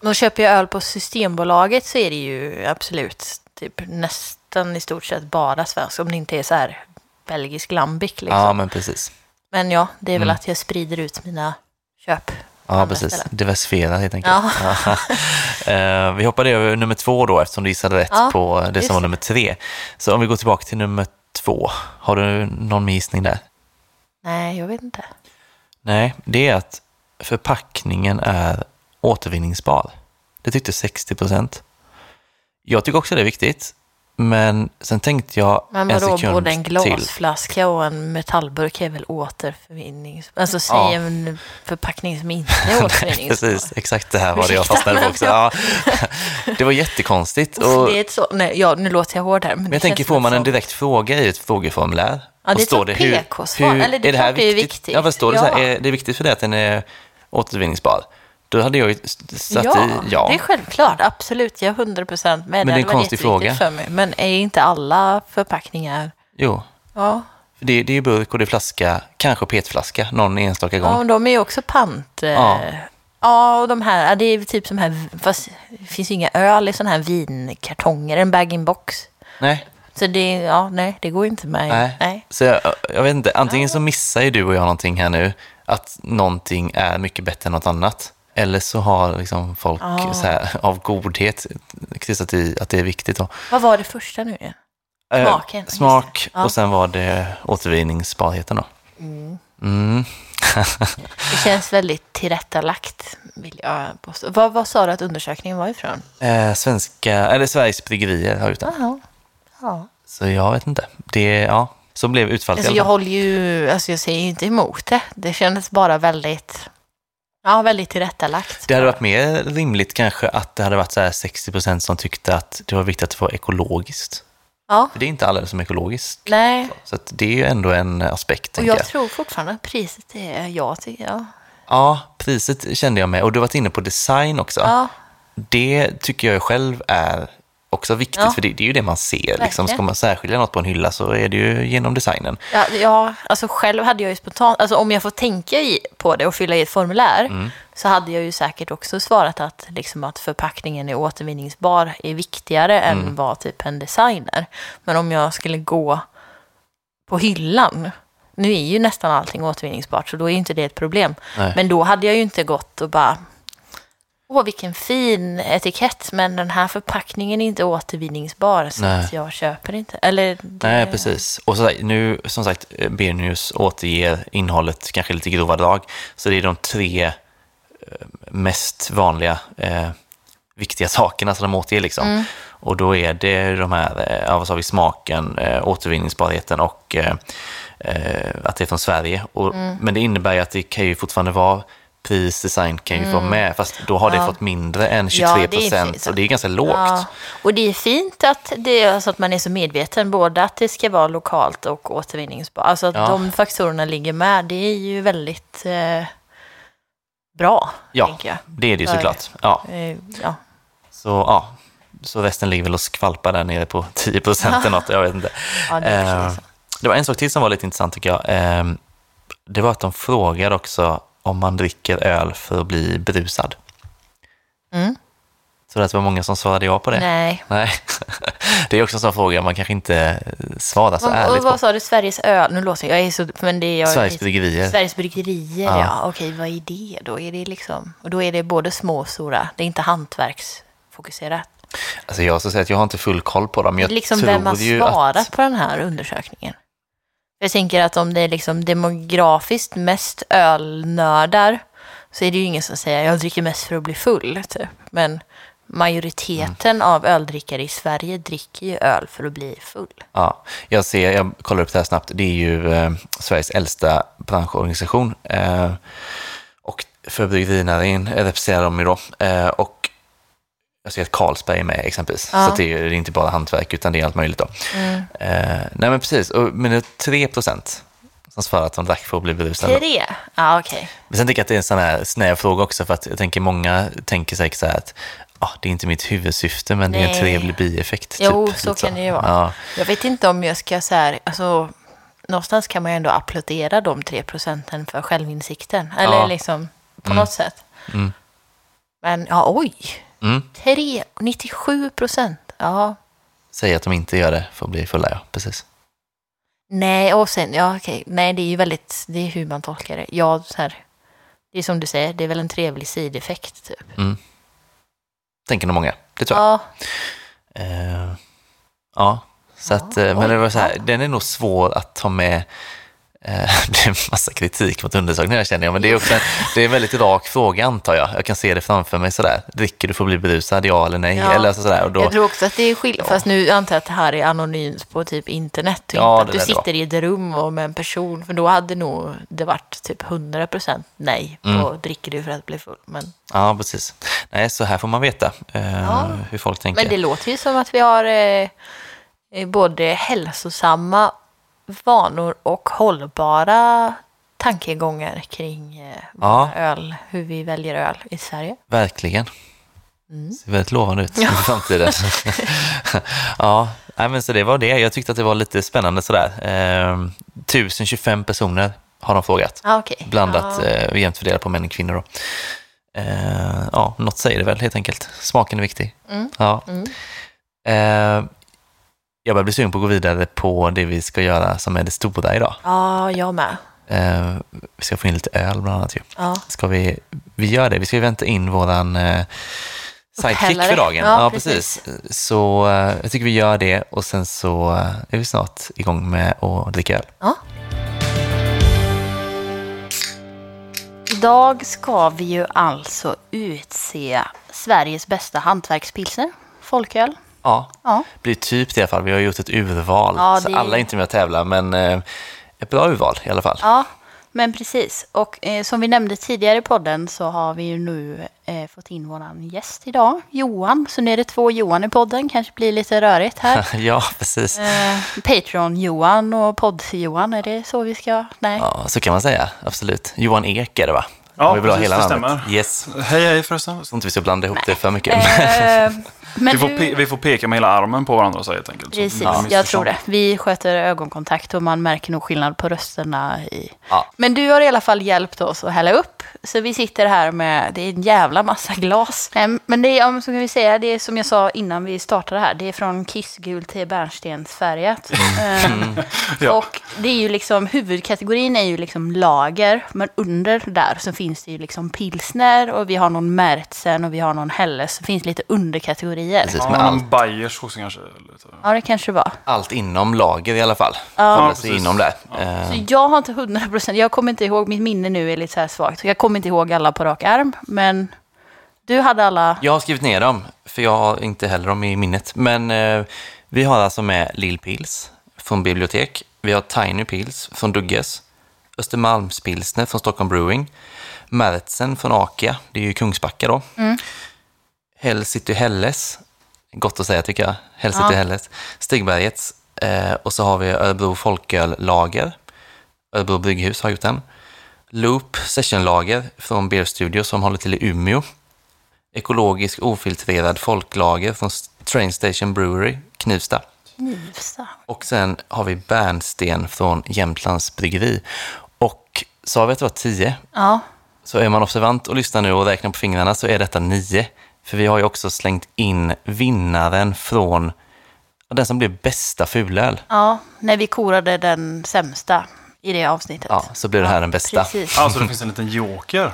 A: Men köper jag öl på Systembolaget så är det ju absolut typ, nästan i stort sett bara svensk. Om det inte är så här belgisk lambic liksom.
B: ja, men precis.
A: Men ja, det är väl
B: Mm.
A: att jag sprider ut mina köp.
B: Ja,
A: andra
B: precis.
A: ställen.
B: Diversifiera helt enkelt.
A: Ja.
B: Eh, vi hoppade över nummer två då, eftersom du gissade rätt
A: Ja,
B: på det
A: just
B: som var
A: det.
B: nummer tre. Så om vi går tillbaka till nummer två, har du någon mer gissning där?
A: Nej, jag vet inte.
B: Nej, det är att förpackningen är återvinningsbar. Det tyckte 60 procent. Jag tycker också det är viktigt, men sen tänkte jag
A: Men
B: en
A: vadå,
B: sekund
A: både en
B: till.
A: glasflaska och en metallburk är väl återvinning? Alltså säg
B: Ja.
A: en förpackning som inte är återvinning.
B: Precis, exakt det här var det jag
A: Ursäkta,
B: fastnade på
A: men
B: också. Ja, det var jättekonstigt. Och,
A: Det är ett så, nej, ja, nu låter jag hård här. Men,
B: men jag tänker, får man en direkt fråga i ett frågeformulär?
A: Ja,
B: och
A: det är
B: står
A: ett PK-svar. Eller det är klart det är viktigt.
B: Ja, fast står det så
A: Ja.
B: här, är det viktigt för dig att den är återvinningsbar? Då hade jag ju satt
A: ja,
B: i,
A: ja, det är självklart. Absolut, jag är 100 procent med.
B: det är en
A: hade varit
B: konstig
A: jätteviktigt
B: fråga.
A: För mig. Men är inte alla förpackningar...
B: Jo,
A: Ja,
B: För Det, det är ju burk och det är flaska, kanske petflaska, någon enstaka gång.
A: ja och de är ju också pant. eh,
B: Ja.
A: Ja, och de här, ja, det är typ som här, fast det finns ju inga öl i sådana här vinkartonger, en bag-in-box.
B: Nej,
A: Så det, ja, nej, det går inte med.
B: nej.
A: Nej.
B: Så jag, jag vet inte, antingen så missar ju du och jag någonting här nu, att någonting är mycket bättre än något annat. Eller så har liksom folk så här, av godhet kristat i att det är viktigt. Då.
A: Vad var det första nu igen?
B: Eh,
A: Smaken, just det.
B: Smak
A: Ja.
B: och sen var det återvinningsbarheten då. Mm.
A: Det känns väldigt tillrättalagt, vill jag påstå. Vad, vad sa du att undersökningen var ifrån?
B: Eh, svenska, eller Sveriges bryggerier har gjort det.
A: Jaha. Ja.
B: Så jag vet inte. Det, ja, så blev utfallet
A: Alltså
B: i
A: jag
B: alla fall.
A: håller ju, alltså jag säger ju inte emot det. Det kändes bara väldigt, ja, väldigt tillrättalagt.
B: Det hade varit mer rimligt kanske att det hade varit så här 60 som tyckte att det var viktigt att det var ekologiskt.
A: Ja,
B: För det är inte alla som är ekologiskt.
A: nej.
B: Så att det är ju ändå en aspekt,
A: Och
B: tänker jag.
A: jag tror fortfarande att priset är jag tycker jag.
B: Ja, priset kände jag med. Och du har varit inne på design också.
A: Ja,
B: Det tycker jag själv är också viktigt,
A: Ja.
B: för det, det är ju det man ser. Liksom.
A: Verkligen.
B: Ska man särskilja något på en hylla så är det ju genom designen.
A: ja, ja, alltså själv hade jag ju spontant, alltså om jag får tänka i, på det och fylla i ett formulär
B: Mm.
A: så hade jag ju säkert också svarat att, liksom, att förpackningen är återvinningsbar är viktigare
B: Mm.
A: än vad typ en designer. Men om jag skulle gå på hyllan, nu är ju nästan allting återvinningsbart så då är ju inte det ett problem.
B: Nej.
A: Men då hade jag ju inte gått och bara Åh, vilken fin etikett, men den här förpackningen är inte återvinningsbar, så
B: Nej.
A: att jag köper inte. Eller, det-
B: Nej, precis. Och så, nu, som sagt, Bernius återger innehållet kanske lite grova drag. Så det är de tre eh, mest vanliga eh, viktiga sakerna som de återger. Liksom.
A: Mm.
B: Och då är det de här, eh, ja, vad sa vi, smaken, eh, återvinningsbarheten och eh, eh, att det är från Sverige. Och,
A: Mm.
B: Men det innebär ju att det kan ju fortfarande vara pris, design kan ju vara med, fast då har det fått mindre än 23
A: Mm. det är
B: procent
A: fint.
B: och det är ganska lågt.
A: Ja. Och det är fint att, det är alltså att man är så medveten, både att det ska vara lokalt och återvinningsbart. Alltså att
B: Ja.
A: de faktorerna ligger med, det är ju väldigt eh, bra,
B: Ja,
A: tänker jag.
B: det är det ju
A: Så är det.
B: såklart. Ja.
A: Eh, ja.
B: Så ja, så resten ligger väl och skvalpar där nere på 10 procent eller något, jag vet inte.
A: Ja, det är
B: Eh,
A: precis så.
B: det var en sak till som var lite intressant tycker jag. Eh, Det var att de frågade också om man dricker öl för att bli berusad.
A: Mm.
B: Tror du att det var många som svarade ja på det?
A: Nej.
B: Nej. Det är också en sån fråga man kanske inte eh, svarar så
A: Och, och
B: ärligt på.
A: vad sa du? Sveriges ö... Nu låter jag... jag är så, men det är jag,
B: Sveriges bryggerier.
A: Sveriges bryggerier, ja.
B: Ja.
A: Okej, vad är det då? Är det liksom... Och då är det både små och stora. Det är inte hantverksfokuserat.
B: Alltså jag ska säga att jag har inte full koll på dem. Jag
A: liksom
B: tror
A: vem har
B: ju
A: svarat
B: Att,
A: på den här undersökningen? Jag tänker att om det är liksom demografiskt mest ölnördar så är det ju ingen som säger jag dricker mest för att bli full. Typ. Men majoriteten av öldrickare i Sverige dricker ju öl för att bli full.
B: ja, jag ser, jag kollar upp det här snabbt. Det är ju eh, Sveriges äldsta branschorganisation. Eh, och för bryggerinäringen representerar de ju då. Eh, och jag ser att Carlsberg är med exempelvis.
A: Ja. Mm.
B: Så att det, är, ju- det är inte bara hantverk utan det är allt möjligt då. Eh, nej men precis, och, men det är 3 procent som svarar att de drack för att bli berusade.
A: Tre? Ja, okej.
B: Men sen tycker jag att det är en sån här snäv fråga också, för att jag tänker många tänker säkert så här att ah, det är inte mitt huvudsyfte, men det är
A: Nej.
B: en trevlig bieffekt.
A: Jo,
B: typ,
A: så
B: lite
A: kan det ju vara.
B: Ja,
A: Jag vet inte om jag ska så här, alltså, någonstans kan man ju ändå applådera de tre procenten för självinsikten. Eller
B: Ja.
A: liksom, på
B: Mm.
A: något sätt.
B: Mm.
A: Men ja, oj.
B: mm.
A: 3, 97 procent. Ja.
B: Säg att de inte gör det för att bli fulla, ja. Precis.
A: Nej, och sen, ja okej. Nej, det är ju väldigt, det är hur man tolkar det. Ja, så här, det är som du säger, det är väl en trevlig sideffekt typ.
B: Tänker nog många, det tror jag.
A: Ja,
B: Eh, ja, så
A: Ja,
B: att, eh, men det var så här,
A: ja.
B: den är nog svår att ta med. Eh, det är en massa kritik mot undersökningen här känner jag, men det är också en, det är en väldigt rak fråga antar jag. Jag kan se det framför mig sådär. Dricker du för att bli berusad, ja eller nej?
A: Ja.
B: Eller alltså sådär, och då,
A: jag tror också att det är skillnad. Fast nu antar jag att det här är anonymt på typ internet. Och
B: Ja,
A: inte
B: det
A: att du
B: lär det
A: sitter i ett rum och med en person. För då hade nog det varit typ 100 procent nej på
B: Mm.
A: dricker du för att bli full. Men,
B: Ja, precis. Nej, så här får man veta eh,
A: Ja.
B: hur folk tänker.
A: men det låter ju som att vi har eh, eh, både hälsosamma vanor och hållbara tankegångar kring eh,
B: Ja,
A: öl, hur vi väljer öl i Sverige.
B: verkligen.
A: Mm.
B: Ser väldigt lovande ut i framtiden. ja, nej, men så det var det. Jag tyckte att det var lite spännande sådär. Eh, 1025 personer har de frågat.
A: Ah, okay.
B: Blandat, eh, jämnt fördelat på män och kvinnor. Då. Eh, ja, något säger det väl helt enkelt. Smaken är viktig.
A: Mm.
B: Ja.
A: Mm.
B: Eh, jag börjar bli sugen på att gå vidare på det vi ska göra som är det stora idag.
A: Ja, jag med.
B: Eh, vi ska få in lite öl bland annat ju.
A: Ja.
B: Ska vi, vi gör det. Vi ska ju vänta in våran eh, sidekick
A: Upphällare.
B: för dagen.
A: Ja,
B: Så eh, jag tycker vi gör det och sen så eh, är vi snart igång med att dricka öl.
A: ja. Idag ska vi ju alltså utse Sveriges bästa hantverkspilsner, folköl.
B: Ja,
A: Ja.
B: det blir typ det i alla fall. Vi har gjort ett urval.
A: Ja, det-
B: Så alla är inte med och tävlar, men eh, ett bra urval i alla fall.
A: Ja, men precis. Och eh, som vi nämnde tidigare i podden så har vi ju nu eh, fått in våran gäst idag, Johan. Så nu är det två Johan i podden, kanske blir lite rörigt här.
B: ja, precis.
A: Eh, Patreon-Johan och podd-Johan, är det så vi ska? Nej.
B: Ja, så kan man säga. Absolut. Johan Ek är det va?
C: Ja,
B: Om vi vill ha
C: precis,
B: hela
C: det
B: namnet.
C: stämmer.
B: Yes.
C: Hej, hej förresten.
B: Jag tror inte vi ska blanda ihop det för mycket.
A: Eh, men
C: Vi får,
A: hur-
C: pe- vi får peka med hela armen på varandra så helt enkelt. Så
A: Precis,
C: det blir
A: jag
C: missförstånd.
A: tror det. Vi sköter ögonkontakt och man märker nog skillnad på rösterna. I...
B: Ja.
A: Men du har i alla fall hjälpt oss att hälla upp. Så vi sitter här med, det är en jävla massa glas. Nej, Ehm, Men det är, ja, men som vi säga, det är som jag sa innan vi startade här, det är från kissgult till bärnstensfärgat. Ehm,
C: Ja.
A: Och det är ju liksom, huvudkategorin är ju liksom lager, men under där så finns det ju liksom pilsner och vi har någon märtsen och vi har någon helles, så finns det lite underkategorier.
B: Precis,
C: Ja,
B: men allt,
C: någon Bayers också kanske. Lite.
A: Ja, det kanske det var.
B: allt inom lager i alla fall.
A: Ja.
B: Hålla
C: Ja,
B: sig
C: precis.
B: inom där.
C: Ja.
B: Eh,
A: Så jag har inte 100 procent, jag kommer inte ihåg, mitt minne nu är lite så här svagt. Jag kommer inte ihåg alla på rak arm, men du hade alla...
B: Jag har skrivit ner dem, för jag har inte heller dem i minnet. Men eh, vi har alltså med Lill Pils från Bibliotek. Vi har Tiny Pils från Dugges. Östermalmspilsner från Stockholm Brewing. Märtsen från Akia, det är ju Kungsbacka då. Hell City Helles, gott att säga tycker jag. Hell City Helles. Stigbergets. Eh, och så har vi Örebro Folköl Lager. Örebro Brygghus har gjort den. Loop Sessionlager från Beer Studio som håller till i Umeå ekologisk ofiltrerad folklager från Train Station Brewery, Knivsta.
A: Knivsta.
B: Och sen har vi Bärnsten från Jämtlands Bryggeri. Och sa vi att det var tio?
A: Ja,
B: Så är man observant och lyssnar nu och räknar på fingrarna så är detta nio. För vi har ju också slängt in vinnaren från den som blev bästa fulöl.
A: Ja, när vi korade den sämsta i det avsnittet.
B: Ja, så blir det här den bästa.
A: Precis.
C: Alltså det finns en liten joker.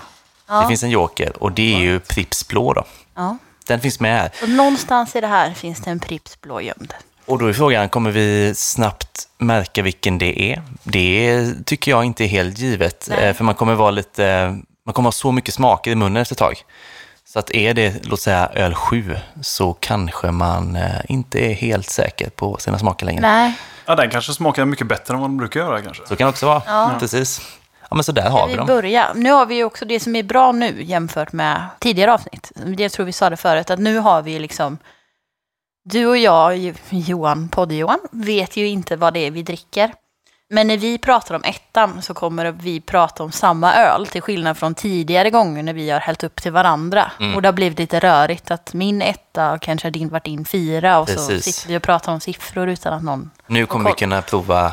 B: Det finns en joker och det är ju Pripps blå då.
A: Ja.
B: Den finns med här.
A: Och någonstans i det här finns det en Pripps blå gömd.
B: Och då är frågan, kommer vi snabbt märka vilken det är? Det tycker jag inte är helt givet,
A: Nej.
B: eh, för man kommer vara lite, man kommer ha så mycket smaker i munnen efter ett tag. Så att är det, låt säga öl 7, så kanske man eh, inte är helt säker på sina smaker längre.
A: Nej,
C: Ja, den kanske smakar mycket bättre än vad den brukar göra kanske.
B: Så kan det också vara, Mm. precis. Ja, men så där har vi
A: vi
B: dem.
A: börjar. Nu har vi ju också det som är bra nu jämfört med tidigare avsnitt. Det tror vi sa det förut, att nu har vi liksom... Du och jag, Jo- Johan, podd-Johan, vet ju inte vad det är vi dricker. Men när vi pratar om ettan så kommer vi prata om samma öl, till skillnad från tidigare gånger när vi har hällt upp till varandra. Och det har blivit lite rörigt att min etta och kanske har din varit din fyra och
B: Precis.
A: så sitter vi och pratar om siffror utan att någon...
B: Nu kommer
A: koll.
B: vi kunna prova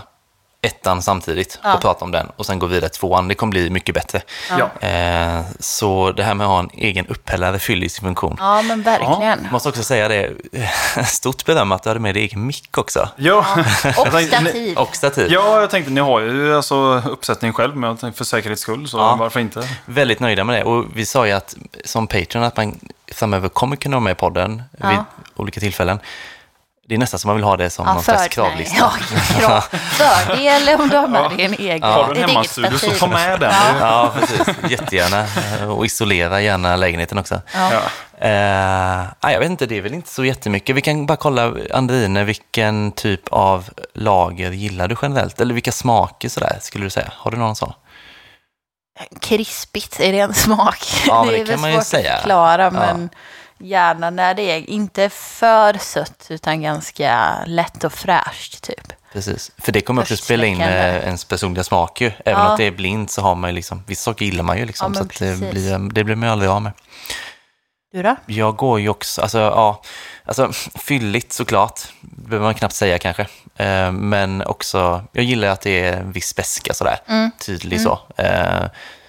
B: ettan samtidigt och prata om den och sen gå vidare till tvåan. Det kommer bli mycket bättre.
C: Ja.
B: Eh, så det här med att ha en egen upphällare fyller sin funktion.
A: Ja, men verkligen.
B: Jag måste också säga det, stort beröm att du hade med dig egen mick också.
C: Ja.
A: Och
C: tänkte-
A: stativ.
B: Och stativ.
C: ja, jag tänkte ni har ju alltså uppsättning själv, men jag tänkte för säkerhets skull, så
B: Ja.
C: varför inte?
B: Väldigt nöjda med det. Och vi sa ju att som Patreon att man framöver kommer kunna vara med i podden vid
A: Ja.
B: olika tillfällen. Det är nästan som man vill ha det som någon slags kravlista.
A: nej, Ja, krav. Fördel om du har med dig en egen.
C: Har du
A: ett
C: en
A: eget
C: hemmastudio så
A: stativ.
C: ta med den.
A: Ja.
B: Ja, precis. Jättegärna. Eh, Och isolera gärna lägenheten också.
C: Ja.
B: Eh, ah, jag vet inte, det är väl inte så jättemycket. Vi kan bara kolla, Andrine, vilken typ av lager gillar du generellt? Eller vilka smaker sådär, skulle du säga? Har du någon sån?
A: Krispigt, är det en smak?
B: Ja, men det
A: är
B: kan
A: väl
B: man ju
A: svårt
B: säga.
A: att förklara, men gärna när det är inte för sött, utan ganska lätt och fräscht, typ.
B: Precis. För det kommer också spela in
A: Försträckande.
B: eh, ens personliga smak ju. Även
A: Ja.
B: om det är blint så har man ju liksom, vissa saker gillar man ju
A: Ja,
B: liksom.
A: men
B: så att det,
A: precis.
B: blir, det blir man ju aldrig av med.
A: Du då?
B: Jag går ju också, alltså ja, alltså fylligt såklart, behöver man knappt säga kanske. Eh, men också, jag gillar att det är en viss beska sådär, tydlig så. Eh,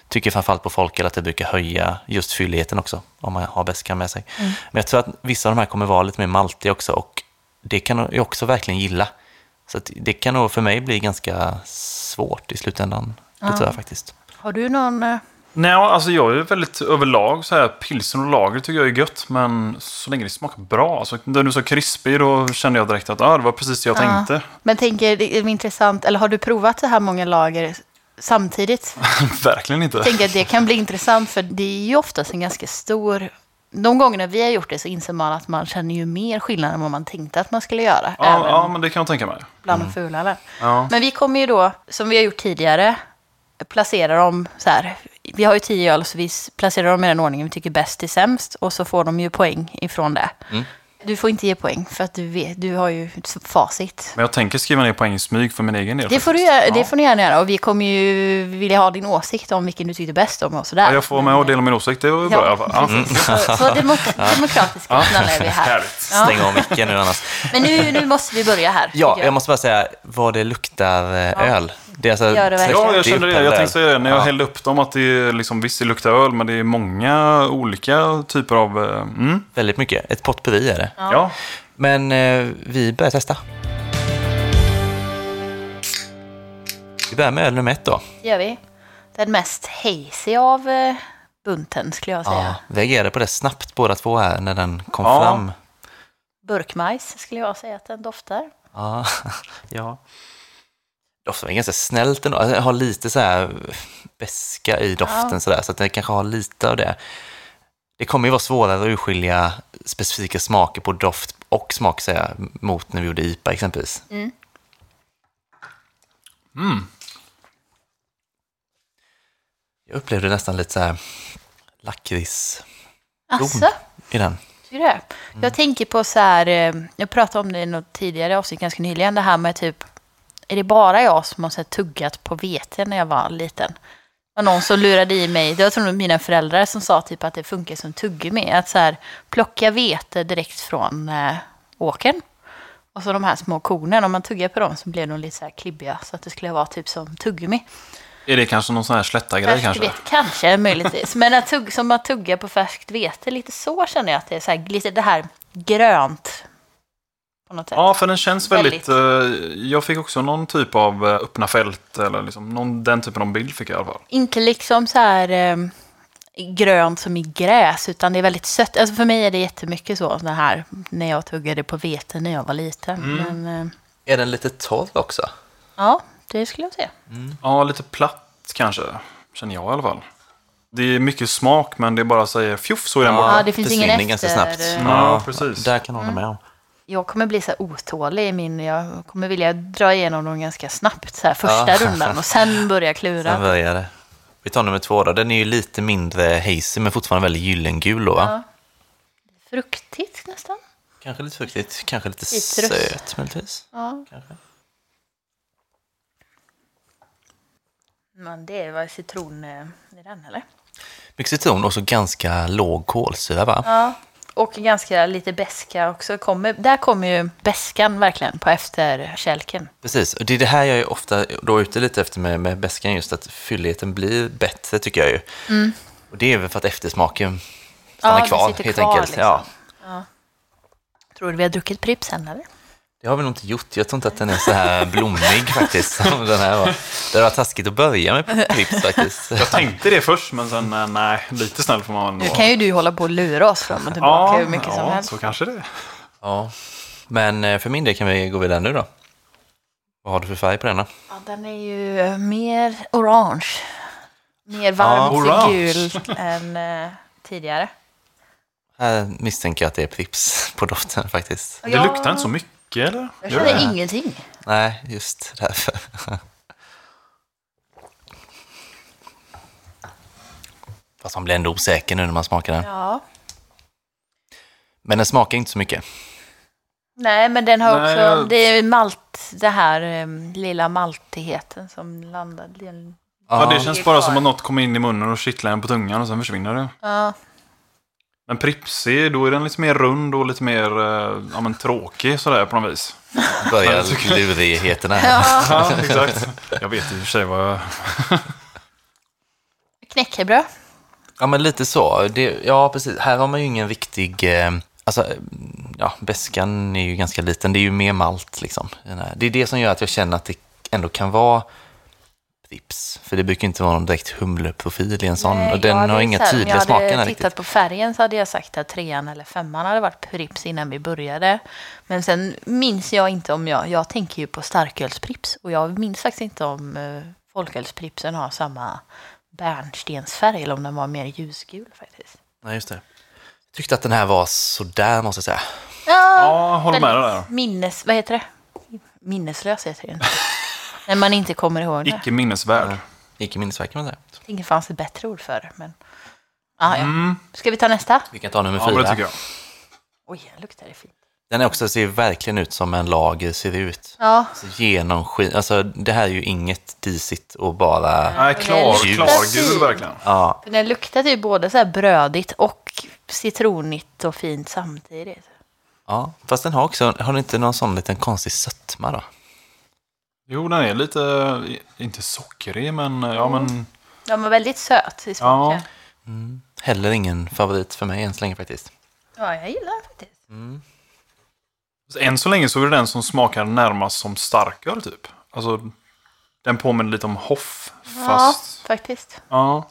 B: tycker framförallt på folk att det brukar höja just fylligheten också, om man har beskan med sig. Men jag tror att vissa av de här kommer vara lite mer maltiga också och det kan jag också verkligen gilla. Så att det kan nog för mig bli ganska svårt i slutändan, det tror jag faktiskt.
A: Har du någon... eh,
C: Nej, alltså jag är väldigt överlag så här, pilsen och lager tycker jag är gött, men så länge det smakar bra. Alltså, när du sa krispig, då kände jag direkt att ah, det var precis det jag tänkte.
A: Men tänker, det är intressant, eller har du provat så här många lager samtidigt?
C: Verkligen inte.
A: tänker att det kan bli intressant, för det är ju oftast en ganska stor... De gångerna vi har gjort det så inser man att man känner ju mer skillnad än vad man tänkte att man skulle göra.
C: Ja,
A: även
C: ja, Mm. men det kan jag tänka mig.
A: bland de fulare.
C: Ja.
A: Men vi kommer ju då, som vi har gjort tidigare, placera dem så här. Vi har ju tio öl, så vi s- placerar dem i den ordningen vi tycker bäst till sämst. Och så får de ju poäng ifrån det.
C: Mm.
A: Du får inte ge poäng, för att du, vet, du har ju s- facit.
C: Men jag tänker skriva ner poäng i smyg för min egen del.
A: Det får, du,
C: faktiskt.
A: göra-
C: Ja.
A: det får ni gärna göra. Och vi kommer ju vilja ha din åsikt om vilken du tyckte bäst om och sådär.
C: Ja, jag får vara med och dela min åsikt, det var ju bra i alla fall. Ja.
A: precis. Så, så demok- demokratiska snälla är vi här.
C: Härligt.
A: Ja.
B: Stäng av micken nu annars.
A: Men nu, nu måste vi börja här.
B: Ja,
A: tycker
B: jag måste bara säga vad det luktar eh, öl. Det är alltså
A: Gör det verkligen.
C: Ja, jag
B: 30
C: kände det. Jag
B: upphällda
C: tänkte säga
B: öl.
C: det när jag
B: Ja.
C: hällde upp dem att det är liksom, visst det luktar öl, men det är många olika typer av... eh, Mm,
B: Väldigt mycket. Ett potpurri är det.
C: ja.
B: Men eh, vi börjar testa. Vi börjar med öl nummer ett då.
A: Det gör vi. Den mest hazy av eh, bunten skulle jag säga.
B: Ja, vi reagerade på det snabbt båda två här när den kom
C: Ja.
B: fram.
A: Burkmajs skulle jag säga att den doftar.
B: Ja. ja. Doften var ganska snällt ändå. Alltså, Den har lite så här beska i doften så där, så att den kanske har lite av det. Det kommer ju vara svårare att urskilja specifika smaker på doft och smak säger jag, mot när vi gjorde IPA exempelvis.
A: Mm.
C: Mm.
B: Jag upplevde nästan lite så här lakrits
A: Alltså,
B: i den.
A: tycker du det? Jag tänker på så här, eh, jag pratade om det i något tidigare avsnitt ganska nyligen, det här med typ, är det bara jag som har så här tuggat på vete när jag var liten? Det var någon som lurade i mig, det var tror jag mina föräldrar som sa typ att det funkar som tuggummi, att så här, plocka vete direkt från eh, åkern. Och så de här små kornen, om man tuggar på dem så blev de lite så här klibbiga, så att det skulle vara typ som tuggummi.
C: Är det kanske någon sån här slätta-grej
A: Färskt
C: kanske?
A: vete, kanske möjligtvis. Men att tugg, som att tugga på färskt vete, lite så känner jag att det är så här, lite det här grönt. På något sätt.
C: Ja, för den känns väldigt...
A: Väldigt.
C: eh, jag fick också någon typ av eh, öppna fält, eller liksom, någon, den typen av bild fick jag i alla fall.
A: Inte liksom så här eh, grönt som i gräs, utan det är väldigt sött. Alltså för mig är det jättemycket så, det här, när jag tuggade på vete när jag var liten.
C: Mm.
A: Men eh,
B: Är den lite torr också?
A: ja, det skulle jag säga.
C: Ja, lite platt kanske, känner jag i alla fall. Det är mycket smak, men det bara säger fjuff så är den borta.
A: Ja, det finns ingen
B: försvinner ganska
A: efter-
B: snabbt.
C: Ja, precis.
B: Där kan jag hålla med om.
A: Jag kommer bli så här otålig i min, jag kommer vilja dra igenom dem ganska snabbt, så här första
B: Ja.
A: rundan och sen börja klura.
B: Den börjar det. Vi tar nummer två då. Den är ju lite mindre hazy men fortfarande väldigt gyllengul då va?
A: Ja. Fruktigt nästan.
B: Kanske lite fruktigt, kanske lite
A: Citrus.
B: söt möjligtvis.
A: Ja.
B: Kanske.
A: Men det var citron eh, i den eller?
B: Mycket citron och så ganska låg kolsyra va?
A: Ja. Och ganska lite beska också. Kommer, där kommer ju beskan verkligen på efterkälken.
B: Precis, och det är det här jag är ofta då ute lite efter med, med beskan just att fylligheten blir bättre tycker jag ju. Och det är väl för att eftersmaken stannar
A: Mm. Ja, det
B: kvar
A: sitter
B: helt
A: kvar,
B: enkelt.
A: liksom.
B: Ja.
A: Tror du vi har druckit Pripps än eller?
B: Det har vi nog inte gjort. Jag tror inte att den är så här blommig faktiskt som den här var. Det var taskigt att börja med Pripps faktiskt.
C: Jag tänkte det först, men sen eh, nej, lite snäll får man
A: Nu
C: vara.
A: kan ju du hålla på och lura oss fram och tillbaka
C: Ja,
A: hur mycket som
C: ja
A: helst.
C: så kanske det.
B: Ja. Men eh, för min del kan vi gå vidare nu då. Vad har du för färg på den då?
A: Ja, den är ju eh, mer orange. Mer varmt
C: orange.
A: gul än eh, tidigare.
B: Här misstänker jag att det är Pripps på doften faktiskt.
C: Det
A: Ja.
C: luktar inte så mycket, eller?
A: Jag
C: Gör det?
A: känner ingenting.
B: Nej, just därför. Fast man blir ändå osäker nu när man smakar den.
A: Ja.
B: Men den smakar inte så mycket.
A: Nej, men den har
C: Nej,
A: också,
C: jag-
A: det är ju malt, det här em, lilla maltigheten som landade. i en-
C: Ja, det
B: Ja,
C: känns bara som att något kommer in i munnen och kittlar en på tungan och sen försvinner det.
A: Ja,
C: Men Pripsig, då är den lite mer rund och lite mer eh, ja, men, tråkig sådär på något vis.
B: börjar lurigheterna här.
A: ja.
C: Ja, exakt. Jag vet i och för sig vad jag...
A: knäckebröd.
B: Ja, men lite så. Det, ja, precis. Här har man ju ingen riktig... Eh, alltså, eh, ja, beskan är ju ganska liten. Det är ju mer malt, liksom. Den här- Det är det som gör att jag känner att det ändå kan vara Pripps. För det brukar inte vara någon direkt humleprofil i en sån.
A: Nej,
B: och den
A: ja, det
B: har
A: är
B: inga
A: så här, om
B: tydliga
A: Jag
B: smaker
A: hade
B: här
A: tittat
B: riktigt.
A: på färgen så hade jag sagt att trean eller femman hade varit Pripps innan vi började. Men sen minns jag inte om jag, jag tänker ju på starkölsprips och jag minns faktiskt inte om eh, folkölspripsen har samma bärnstensfärg eller om den var mer ljusgul faktiskt.
B: Nej, just det. Jag tyckte att den här var sådär, måste jag säga.
C: Ja, håller med dig där.
A: Minnes... Vad heter det? Minneslös heter det inte. När man inte kommer ihåg det.
C: Icke minnesvärd.
B: Icke minnesvärd kan man säga.
A: Det fanns ett bättre ord för det. Men... Ah,
C: Mm.
A: ja. Ska vi ta nästa?
B: Vi kan ta nummer
C: Ja, men
B: fyra.
C: det tycker jag.
A: Oj, luktar det fint.
B: Den är också, ser verkligen ut som en lager ser ut.
A: Ja,
B: Alltså, genomskin... Alltså, det här är ju inget disigt och bara...
C: Nej, klar,
A: Ljus.
C: klargul verkligen.
B: Ja,
A: för den luktar ju både så här brödigt och citronigt och fint samtidigt.
B: ja. Fast den har också, har den inte någon sån liten konstig sötma då?
C: Jo, den är lite, eh, inte sockerig, men eh, ja, men...
A: Den var väldigt söt i smaken.
B: Heller ingen favorit för mig än så länge faktiskt.
A: Ja, jag gillar den faktiskt.
C: Än så länge så är det den som smakar närmast som starköl, typ. Alltså, den påminner lite om Hoff, fast...
A: Ja, faktiskt.
C: Ja.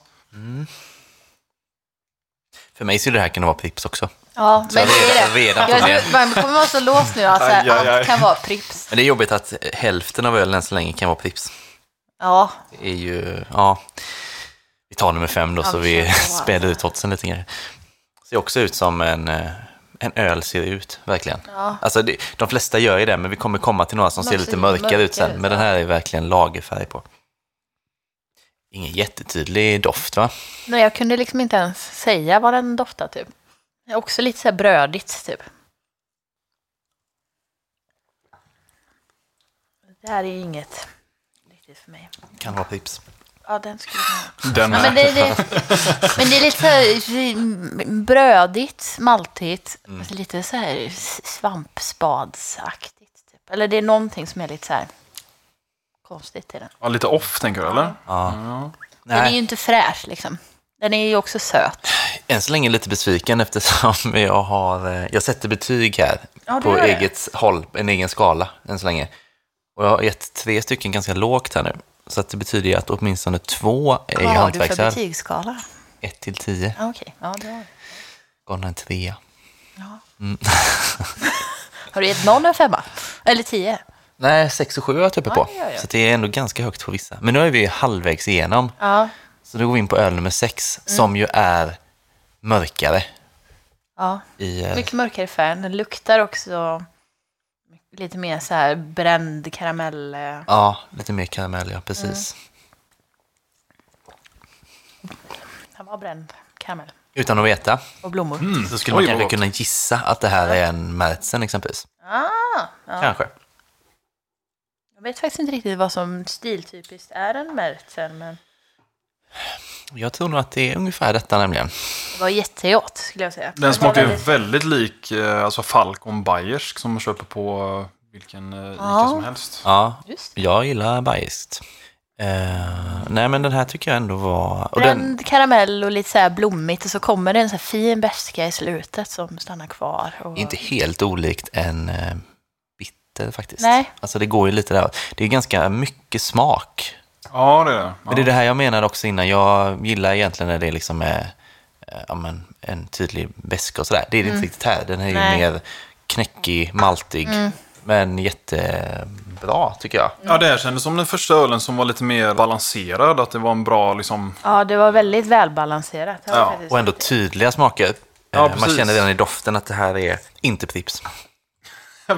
B: För mig skulle det här kunna vara Pripps också.
A: Ja, men det är det.
B: Redan
A: Jag
B: på det.
A: tror, man kommer vara så låst nu att så här,
C: Aj, aj, aj.
A: allt kan vara Pripps.
B: Men det är jobbigt att hälften av ölen än så länge kan vara Pripps.
A: Ja,
B: Det är ju, ja. Vi tar nummer fem då
A: Ja,
B: så
A: vi
B: vi
A: kör på.
B: späder ut oddsen lite grann. Ser också ut som en, eh, en öl ser ut, verkligen.
A: Ja.
B: Alltså det, de flesta gör ju det, men vi kommer komma till några som
A: De
B: ser
A: ser
B: lite
A: ju
B: mörkare, ut
A: mörkare
B: sen.
A: ut,
B: Men
A: ja.
B: den här är verkligen lagerfärg på. Ingen jättetydlig doft va?
A: Nej, jag kunde liksom inte ens säga vad den doftade typ. Det är Också lite så här brödigt typ. Det här är ju inget riktigt för mig.
B: Kan vara Pripps.
A: Ja, den skulle jag...
C: Den
A: Ja, men, det, det, men det är lite så här brödigt, maltigt,
B: Mm.
A: alltså lite så här s- svampspadsaktigt. Typ. Eller det är någonting som är lite så här konstigt i den.
C: Ja, lite off tänker du eller?
B: Ja.
C: Ja.
A: Den är ju
B: Nej,
A: inte fräsch liksom. Den är ju också söt.
B: än så länge lite besviken eftersom jag har... eh, Jag sätter betyg här
A: Ja, du
B: på
A: gör det.
B: eget håll, en egen skala än så länge. Och jag har gett tre stycken ganska lågt här nu. Så att det betyder ju att åtminstone två
A: Vad
B: är
A: har du för
B: hantverksverk.
A: betygsskala?
B: Ett till tio
A: Ja, okej. Ja, det har, du.
B: gav den en trea.
A: har du gett någon en femma? Eller tio?
B: Nej, sex och sju har jag typ på.
A: Ja, ja, ja.
B: Så det är ändå ganska högt på vissa. Men nu är vi ju halvvägs igenom.
A: Ja.
B: Så nu går vi in på öl nummer sex,
A: Mm.
B: som ju är mörkare.
A: ja.
B: I, eh,
A: Mycket mörkare i färgen. Den luktar också lite mer så här bränd karamell. eh,
B: ja, lite mer karamell, ja, precis.
A: Mm. Den var bränd karamell.
B: Utan att veta
A: Och blommor.
B: så skulle
C: Mm. Oj,
B: man
C: vad
B: kanske
C: gott.
B: kunna gissa att det här är en Märzen exempelvis.
A: Ah, ja.
B: Kanske.
A: Jag vet faktiskt inte riktigt vad som stiltypiskt är en Märzen, men
B: Jag tror nog att det är ungefär detta nämligen.
A: det var jättegott skulle jag säga.
C: Den
A: var
C: smakar ju
A: väldigt-
C: väldigt lik eh, alltså Falcon Bayersk som man köper på eh, vilken eh, Ica
A: Ja.
C: som helst.
B: Ja,
A: Just. det.
B: jag gillar bajskt. Eh, nej, men den här tycker jag ändå var... Och den,
A: Bränd karamell och lite så här blommigt och så kommer det en så här fin beska i slutet som stannar kvar. Och...
B: inte helt olikt en eh, bitter faktiskt.
A: Nej.
B: Alltså det går ju lite där. Det är ganska mycket smak.
C: Ja, det är det. Ja.
B: Men det är det här jag menade också innan. Jag gillar egentligen när det liksom är eh, ja, men, en tydlig beska och sådär. Det är det inte riktigt här. Den är ju
A: Mm. Nej. Mm.
B: mer knäckig, maltig. Men jättebra tycker jag.
C: Ja, det här kändes som den första ölen som var lite mer balanserad. Att det var en bra liksom...
A: Ja, det var väldigt välbalanserat. Det har
C: Ja,
A: jag faktiskt
B: Och ändå
A: sett.
B: tydliga smaker.
C: Ja,
B: Eh, Man
C: precis.
B: känner redan i doften att det här är inte Pripps.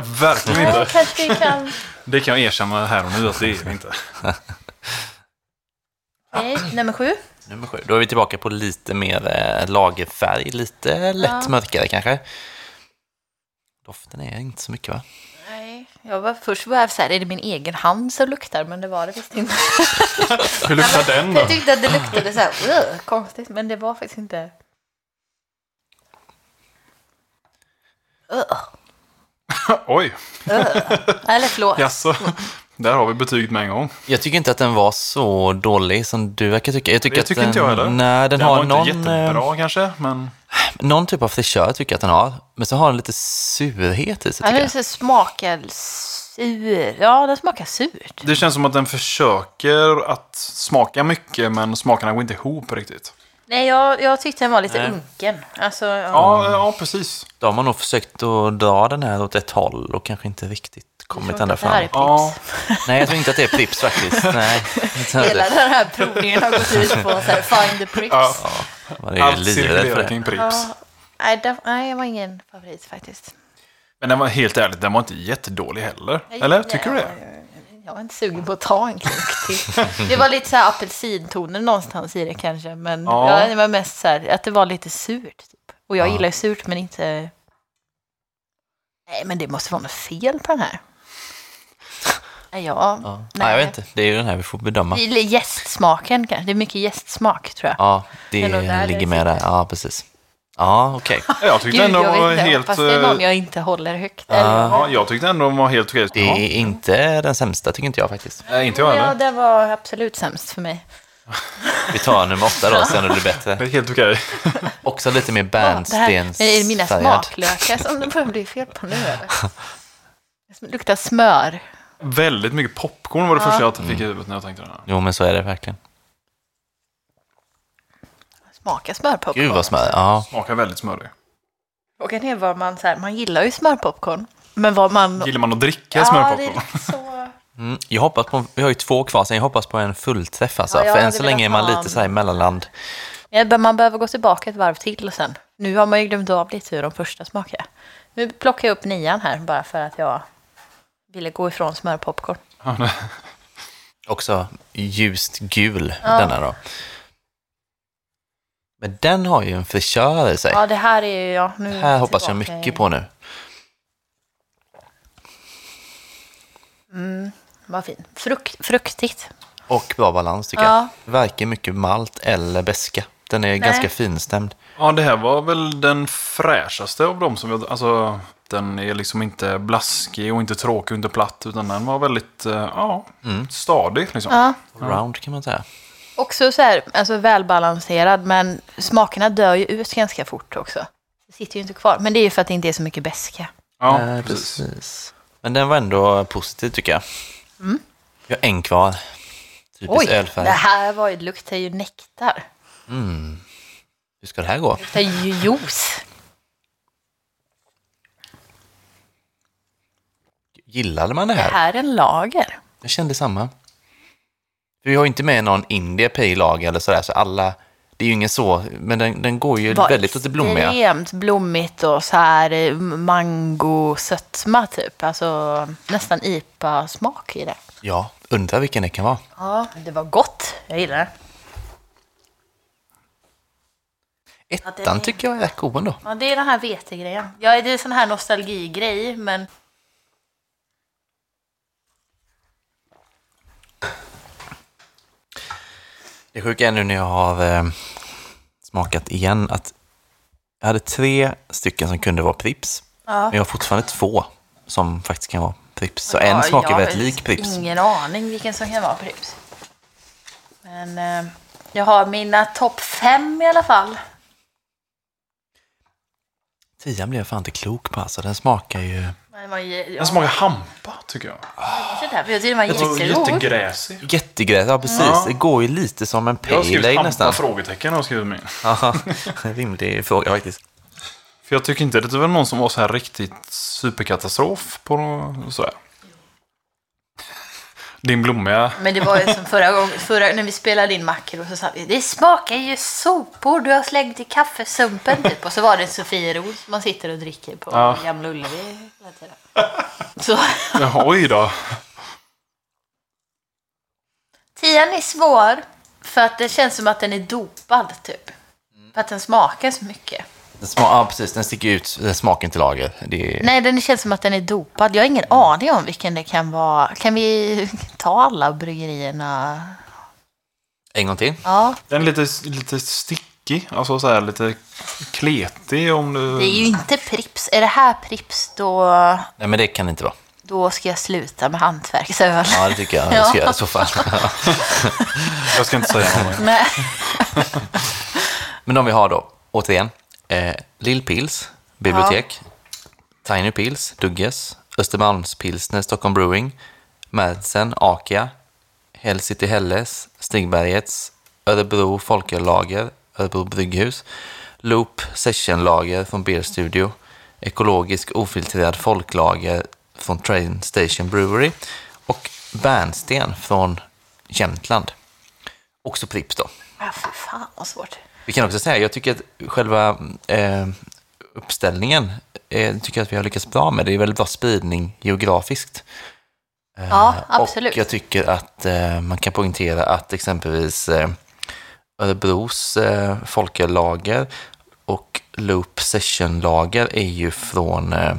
C: Verkligen
A: Nej,
C: inte.
A: kanske vi kan...
C: Det kan jag erkänna här och nu att det är det inte.
A: Okej, nummer sju.
B: Nummer sju. Då är vi tillbaka på lite mer eh, lagerfärg, lite lätt
A: Ja.
B: mörkare kanske. Doften är inte så mycket va?
A: Nej, jag var först var jag så här, är det min egen hand som luktar? Men det var det visst inte.
C: Hur luktar den då?
A: Jag tyckte att det luktade så här, "Ugh", konstigt, men det var faktiskt inte... Ugh,
C: Oj,
A: Eller förlåt.
C: jaså. Där har vi betyget med en gång.
B: Jag tycker inte att den var så dålig som du verkar tycka. Jag tycker
C: Det
B: att
C: tycker
B: den,
C: inte jag heller.
B: eh, Nej, den,
C: Den var
B: har
C: inte
B: någon, eh,
C: jättebra kanske, men...
B: någon typ av fräschör tycker jag att den har. Men så har den lite surhet i sig
A: Ja,
B: tycker
A: den
B: jag.
A: så smakar sur. Ja, den smakar surt.
C: Det känns som att den försöker att smaka mycket, men smakerna går inte ihop riktigt.
A: Nej, jag, jag tyckte den var lite
B: Nej.
A: unken. Alltså, ja.
C: Ja,
B: mm.
C: ja precis.
B: Då har man nog försökt att dra den här åt ett håll och kanske inte riktigt
A: Jag
B: kommit
A: tror inte
B: ända
A: att det här är
B: fram.
C: Ja.
A: Pripps.
B: Nej, jag tror inte att det är Pripps faktiskt. Nej, jag tror inte
A: Hela
B: det.
A: den här provningen har gått ut på så här, find the Pripps.
C: Ja.
B: Man är ju
C: Allt
B: livrädd för
C: cirkulerar
B: det.
C: kring Pripps.
A: Ja, nej, det, nej, det var ingen favorit faktiskt.
C: Men den var helt ärligt, den var inte jättedålig heller.
A: Nej,
C: Eller? Tycker du
A: nej,
C: det?
A: Jag, jag var inte sugen på att ta en klunk till. Det var lite så här apelsintoner någonstans i det kanske. Men
C: Ja.
A: ja. det var mest så här att det var lite surt. Typ. Och jag gillar ju surt men inte... Nej, men det måste vara något fel på den här. Nej, ja.
B: Ja. Nej, jag vet inte. Det är ju den här vi får bedöma.
A: Det är Jästsmaken kanske. Det är mycket jästsmak tror jag.
B: Ja,
A: Det
B: det
A: är nog där
B: ligger
A: det
B: med där. Ja, precis. Ja, okej.
C: Jag tyckte
A: Gud,
C: ändå
A: jag
C: den var
A: vet inte.
C: helt...
A: Fast det är någon
C: eh,
A: jag inte håller högt.
B: Ja.
C: Ja, jag tyckte ändå den var helt okej.
B: Det är
C: Ja.
B: inte den sämsta, tycker inte jag faktiskt.
C: Nej, inte jag
A: Eller? Ja,
C: heller.
A: det var absolut sämst för mig.
B: Vi tar nummer åtta då, sen är det
C: Det
B: bättre.
C: är helt okej.
B: Också lite mer
A: det här, men är det mina
B: bärnstensfärgad.
A: smaklökar som det börjar bli fel på nu eller? Det luktar smör.
C: Väldigt mycket popcorn var det första jag fick i huvudet när jag tänkte den här.
B: Jo, men så är det verkligen.
A: Smaka smörpopcorn.
B: Gud vad smör. Ja.
C: Smakar väldigt smörig.
A: Frågan är vad man, så här, man gillar ju smörpopcorn. Men vad man...
C: Gillar man att
A: ja, det
C: dricka
A: är
C: smörpopcorn?
A: lite så...
B: Mm. Jag hoppas på, vi har ju två kvar sen, jag hoppas på en fullträff alltså.
A: Ja, jag
B: För än
A: hade
B: så länge är man
A: velat ha
B: lite så här i mellanland.
A: Ja, men Man behöver gå tillbaka ett varv till och sen. Nu har man ju glömt av lite hur de första smakar. Nu plockar jag upp nian här bara för att jag ville gå ifrån smörpopcorn.
C: Ja, det-
B: Också ljust gul, denna då. Men den har ju en fräschör i sig.
A: Ja, det här är ju... Ja, nu är
B: här hoppas jag
A: tillbaka i-
B: mycket på nu.
A: Vad fint. Frukt, fruktigt.
B: Och bra balans tycker
A: Ja.
B: jag. Varken mycket malt eller beska. Den är ganska finstämd.
C: Ja, det här var väl den fräschaste av dem som vi Alltså, den är liksom inte blaskig och inte tråkig och inte platt. Utan den var väldigt, eh, ja, stadig liksom.
A: Ja.
B: Round kan man säga.
A: Också så här, alltså välbalanserad, men smakerna dör ju ut ganska fort också. Det sitter ju inte kvar. Men det är ju för att det inte är så mycket beska.
C: Ja,
B: Nej,
C: precis.
B: Men den var ändå positiv tycker jag. Mm. Vi har en kvar. Typisk ölfärg.
A: det här var ju, det luktar ju nektar.
B: Hur ska det här gå?
A: Det luktar ju juice.
B: Gillade man det
A: Det
B: här?
A: här är en lager.
B: Jag kände samma. Vi har ju inte med någon India Pale Lager eller sådär, så alla... Det är ju ingen så, men den, den går ju
A: Var
B: väldigt åt det blommiga.
A: Extremt blommigt och så här eh, mango-sötma typ. Alltså nästan IPA-smak i det.
B: Ja, undrar vilken det kan vara.
A: Ja, det var gott. Jag gillar det.
B: Ettan tycker jag är god ändå.
A: Ja, det är den här vetegrejen. Ja, det är sån här nostalgigrej, men...
B: Det sjuka är nu när jag har eh, smakat igen att jag hade tre stycken som kunde vara Pripps, men jag har fortfarande två som faktiskt kan vara Pripps. Så en
A: Ja,
B: smakar
A: jag
B: väldigt
A: har
B: lik Pripps.
A: Ingen aning vilken som kan vara Pripps. Men eh, jag har mina topp fem i alla fall.
B: Tian blev jag fan inte klok på alltså, den smakar ju...
A: Men Den var ju... Ja,
C: Den smakar hampa, tycker jag.
A: det där, för jag tyckte den var
C: Jag tror
A: jättegod.
C: jättegräsig.
B: Jättegräs, ja precis.
C: Ja.
B: Det går ju lite som en
C: Jag har
B: pale
C: skrivit
B: ale
C: hampa?
B: nästan.
C: Frågetecken har jag skrivit min.
B: Ja, en rimlig fråga faktiskt.
C: För jag tycker inte det var någon som var så här riktigt superkatastrof på något sådär. Din blommiga...
A: Men det var ju som förra gången, förra, när vi spelade in makro så sa vi det smakar ju sopor du har slängt i kaffesumpen typ. Och så var det en Sofiero som man sitter och dricker på
C: Ja.
A: Gamla Ullevi hela tiden. Så
C: Ja, Oj då.
A: tian är svår för att det känns som att den är dopad typ. För att den smakar så mycket.
B: Den sma- ja, precis. Den sticker ut, den smaken till lager. Det är...
A: Nej, den känns som att den är dopad. Jag har
B: Mm.
A: ingen aning om vilken det kan vara. Kan vi ta alla bryggerierna?
B: En gång till.
A: Ja,
C: Den är lite, lite stickig. Alltså så här lite kletig om du...
A: det är ju
B: Mm.
A: inte Prips. Är det här Prips då,
B: Nej, men det kan det inte vara.
A: då ska jag sluta med hantverksöl.
B: Ja, det tycker jag. Jag ska
A: Ja.
B: göra i så fall.
C: Jag ska inte säga något.
A: Nej.
B: Men de vi har då, återigen, eh, Lill Pils, Bibliotek, Tiny Pils, Dugges, Östermalmspilsner, Stockholm Brewing, Madsen, Akia, Hell City Helles, Stigbergets, Örebro Folköllager, Örebro Brygghus, Loop Sessionlager från Beer Studio, Ekologisk ofiltrerad folklager från Train Station Brewery och Bärnsten från Jämtland. Också Pripps då.
A: Ja, för fan vad svårt.
B: Vi kan också säga, jag tycker att själva eh, uppställningen eh, tycker jag att vi har lyckats bra med. Det är väldigt bra spridning geografiskt.
A: Ja,
B: Eh, Och
A: absolut.
B: jag tycker att eh, man kan poängtera att exempelvis eh, Örebros eh, folköllager och Loop Session-lager är ju från, eh,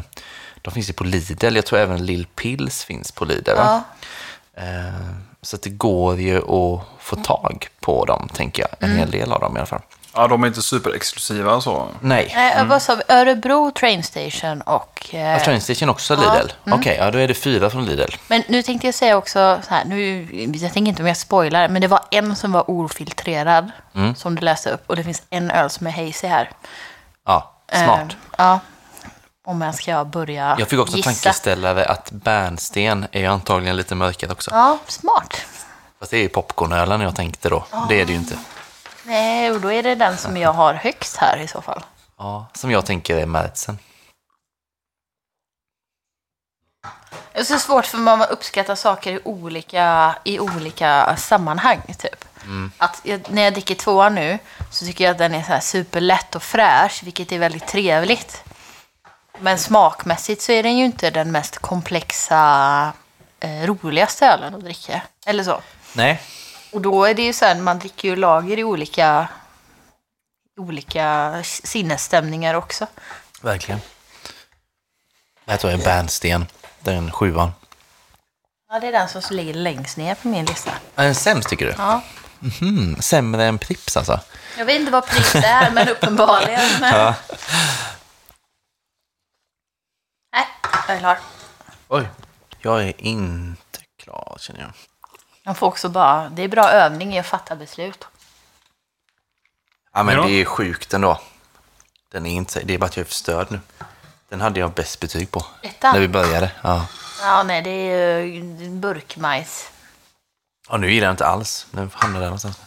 B: de finns ju på Lidl, jag tror även Lill Pils finns på Lidl. va?
A: Ja.
B: Eh, så att det går ju att få tag på dem, tänker jag. En
A: Mm.
B: hel del av dem i alla fall.
C: Ja, de är inte superexklusiva så.
B: Nej.
A: Nej, Eh, Vad sa vi? Örebro Train Station och... eh,
B: Ja, Train Station också Lidl? Okej, ja, då är det fyra från Lidl.
A: Men nu tänkte jag säga också så här, nu, jag tänker inte om jag spoilar, men det var en som var ofiltrerad
B: Mm.
A: som du läste upp och det finns en öl som är hazy här.
B: Ja, smart.
A: Eh, ja, om jag ska börja
B: jag fick också en
A: gissa.
B: tankeställare att bärnsten är ju antagligen lite mörkare också.
A: Ja, smart.
B: Fast det är ju popcornölen jag tänkte då. Det är det ju inte.
A: Nej, och då är det den som jag har högst här i så fall.
B: Ja, som jag tänker är Märtsen.
A: Det är så svårt för man uppskattar saker i olika, i olika sammanhang. Typ.
B: Mm.
A: Att jag, när jag dricker tvåan nu så tycker jag att den är så här superlätt och fräsch, vilket är väldigt trevligt. Men smakmässigt så är den ju inte den mest komplexa, eh, roligaste ölen att dricka. Eller så.
B: Nej,
A: Och då är det ju så här, man dricker ju lager i olika, olika sinnesstämningar också.
B: verkligen. Det här tror jag är bärnsten, den sjuan.
A: Ja, det är den som ligger längst ner på min lista.
B: Ja, Den sämst tycker du?
A: Ja.
B: Mhm, Sämre än Pripps alltså?
A: Jag vet inte vad pris det är, men uppenbarligen. Men...
B: Ja.
A: Nej, jag är klar.
B: Oj. Jag är inte klar känner jag.
A: De får också bara, det är bra övning i att fatta beslut.
B: Ja, men
C: Ja.
B: det är sjukt ändå. Den är inte, det är bara att jag är förstörd nu. Den hade jag bäst betyg på.
A: Ettan?
B: När vi började. Ja.
A: Ja, nej, det är ju burkmajs.
B: Och nu gillar jag inte alls. Den hamnar där någonstans.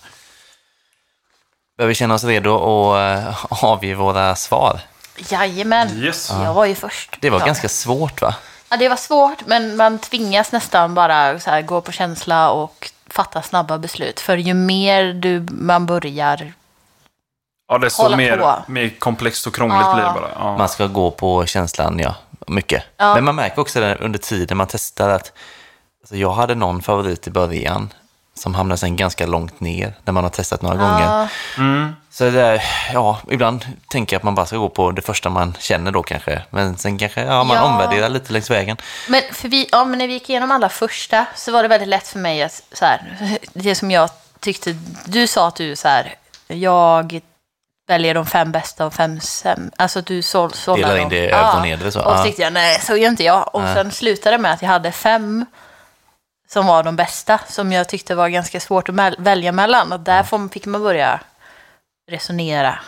B: Bör vi känna oss redo att eh, avge våra svar?
A: Jajamän.
C: Yes.
A: Jag var ju först.
B: Det var
A: Ja.
B: ganska svårt va?
A: Ja, det var svårt, men man tvingas nästan bara så här, gå på känsla och fatta snabba beslut. För ju mer du, man börjar...
C: Ja, desto
A: Hålla
C: mer,
A: på.
C: mer komplext och krångligt
A: Ja.
C: blir det bara. Ja.
B: Man ska gå på känslan, ja. Mycket.
A: Ja.
B: Men man märker också det under tiden man testar att alltså, jag hade någon favorit i början som hamnade sen ganska långt ner när man har testat några gånger.
C: Mm.
B: Så det där, ja, ibland tänker jag att man bara ska gå på det första man känner då kanske. Men sen kanske ja, man
A: Ja.
B: omvärderar lite längs vägen.
A: Men, för vi, ja, men när vi gick igenom alla första så var det väldigt lätt för mig att... Så här, det som jag tyckte... Du sa att du så här, jag väljer de fem bästa och fem sämsta. Alltså att du såll, sållar
B: Delar in
A: dem.
B: det i
A: Ja.
B: övre och nedre, så,
A: Och
B: ja.
A: så tyckte jag, nej, så gör inte jag. Och sen slutade det med att jag hade fem som var de bästa, som jag tyckte var ganska svårt att mel- välja mellan. Och där får- fick man börja resonera.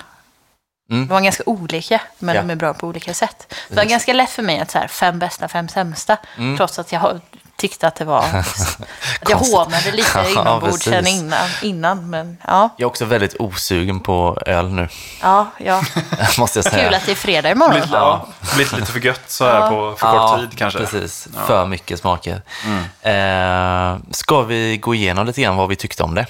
B: Mm.
A: De var ganska olika, men
B: Ja.
A: de är bra på olika sätt. Så det var ganska lätt för mig att så här, fem bästa, fem sämsta, trots att jag har- tyckte att det var... att jag
B: Mm. Konstigt.
A: hånade lite
B: Ja,
A: inombords
B: precis.
A: sen innan, innan, men ja.
B: Jag är också väldigt osugen på öl nu,
A: ja, ja.
B: måste jag säga.
A: Kul att det är fredag imorgon.
C: Blivit, ja. blivit lite för gött så här på för kort
B: Ja,
C: tid kanske. Mm.
B: Precis, för mycket smaker. Eh, ska vi gå igenom lite grann vad vi tyckte om det?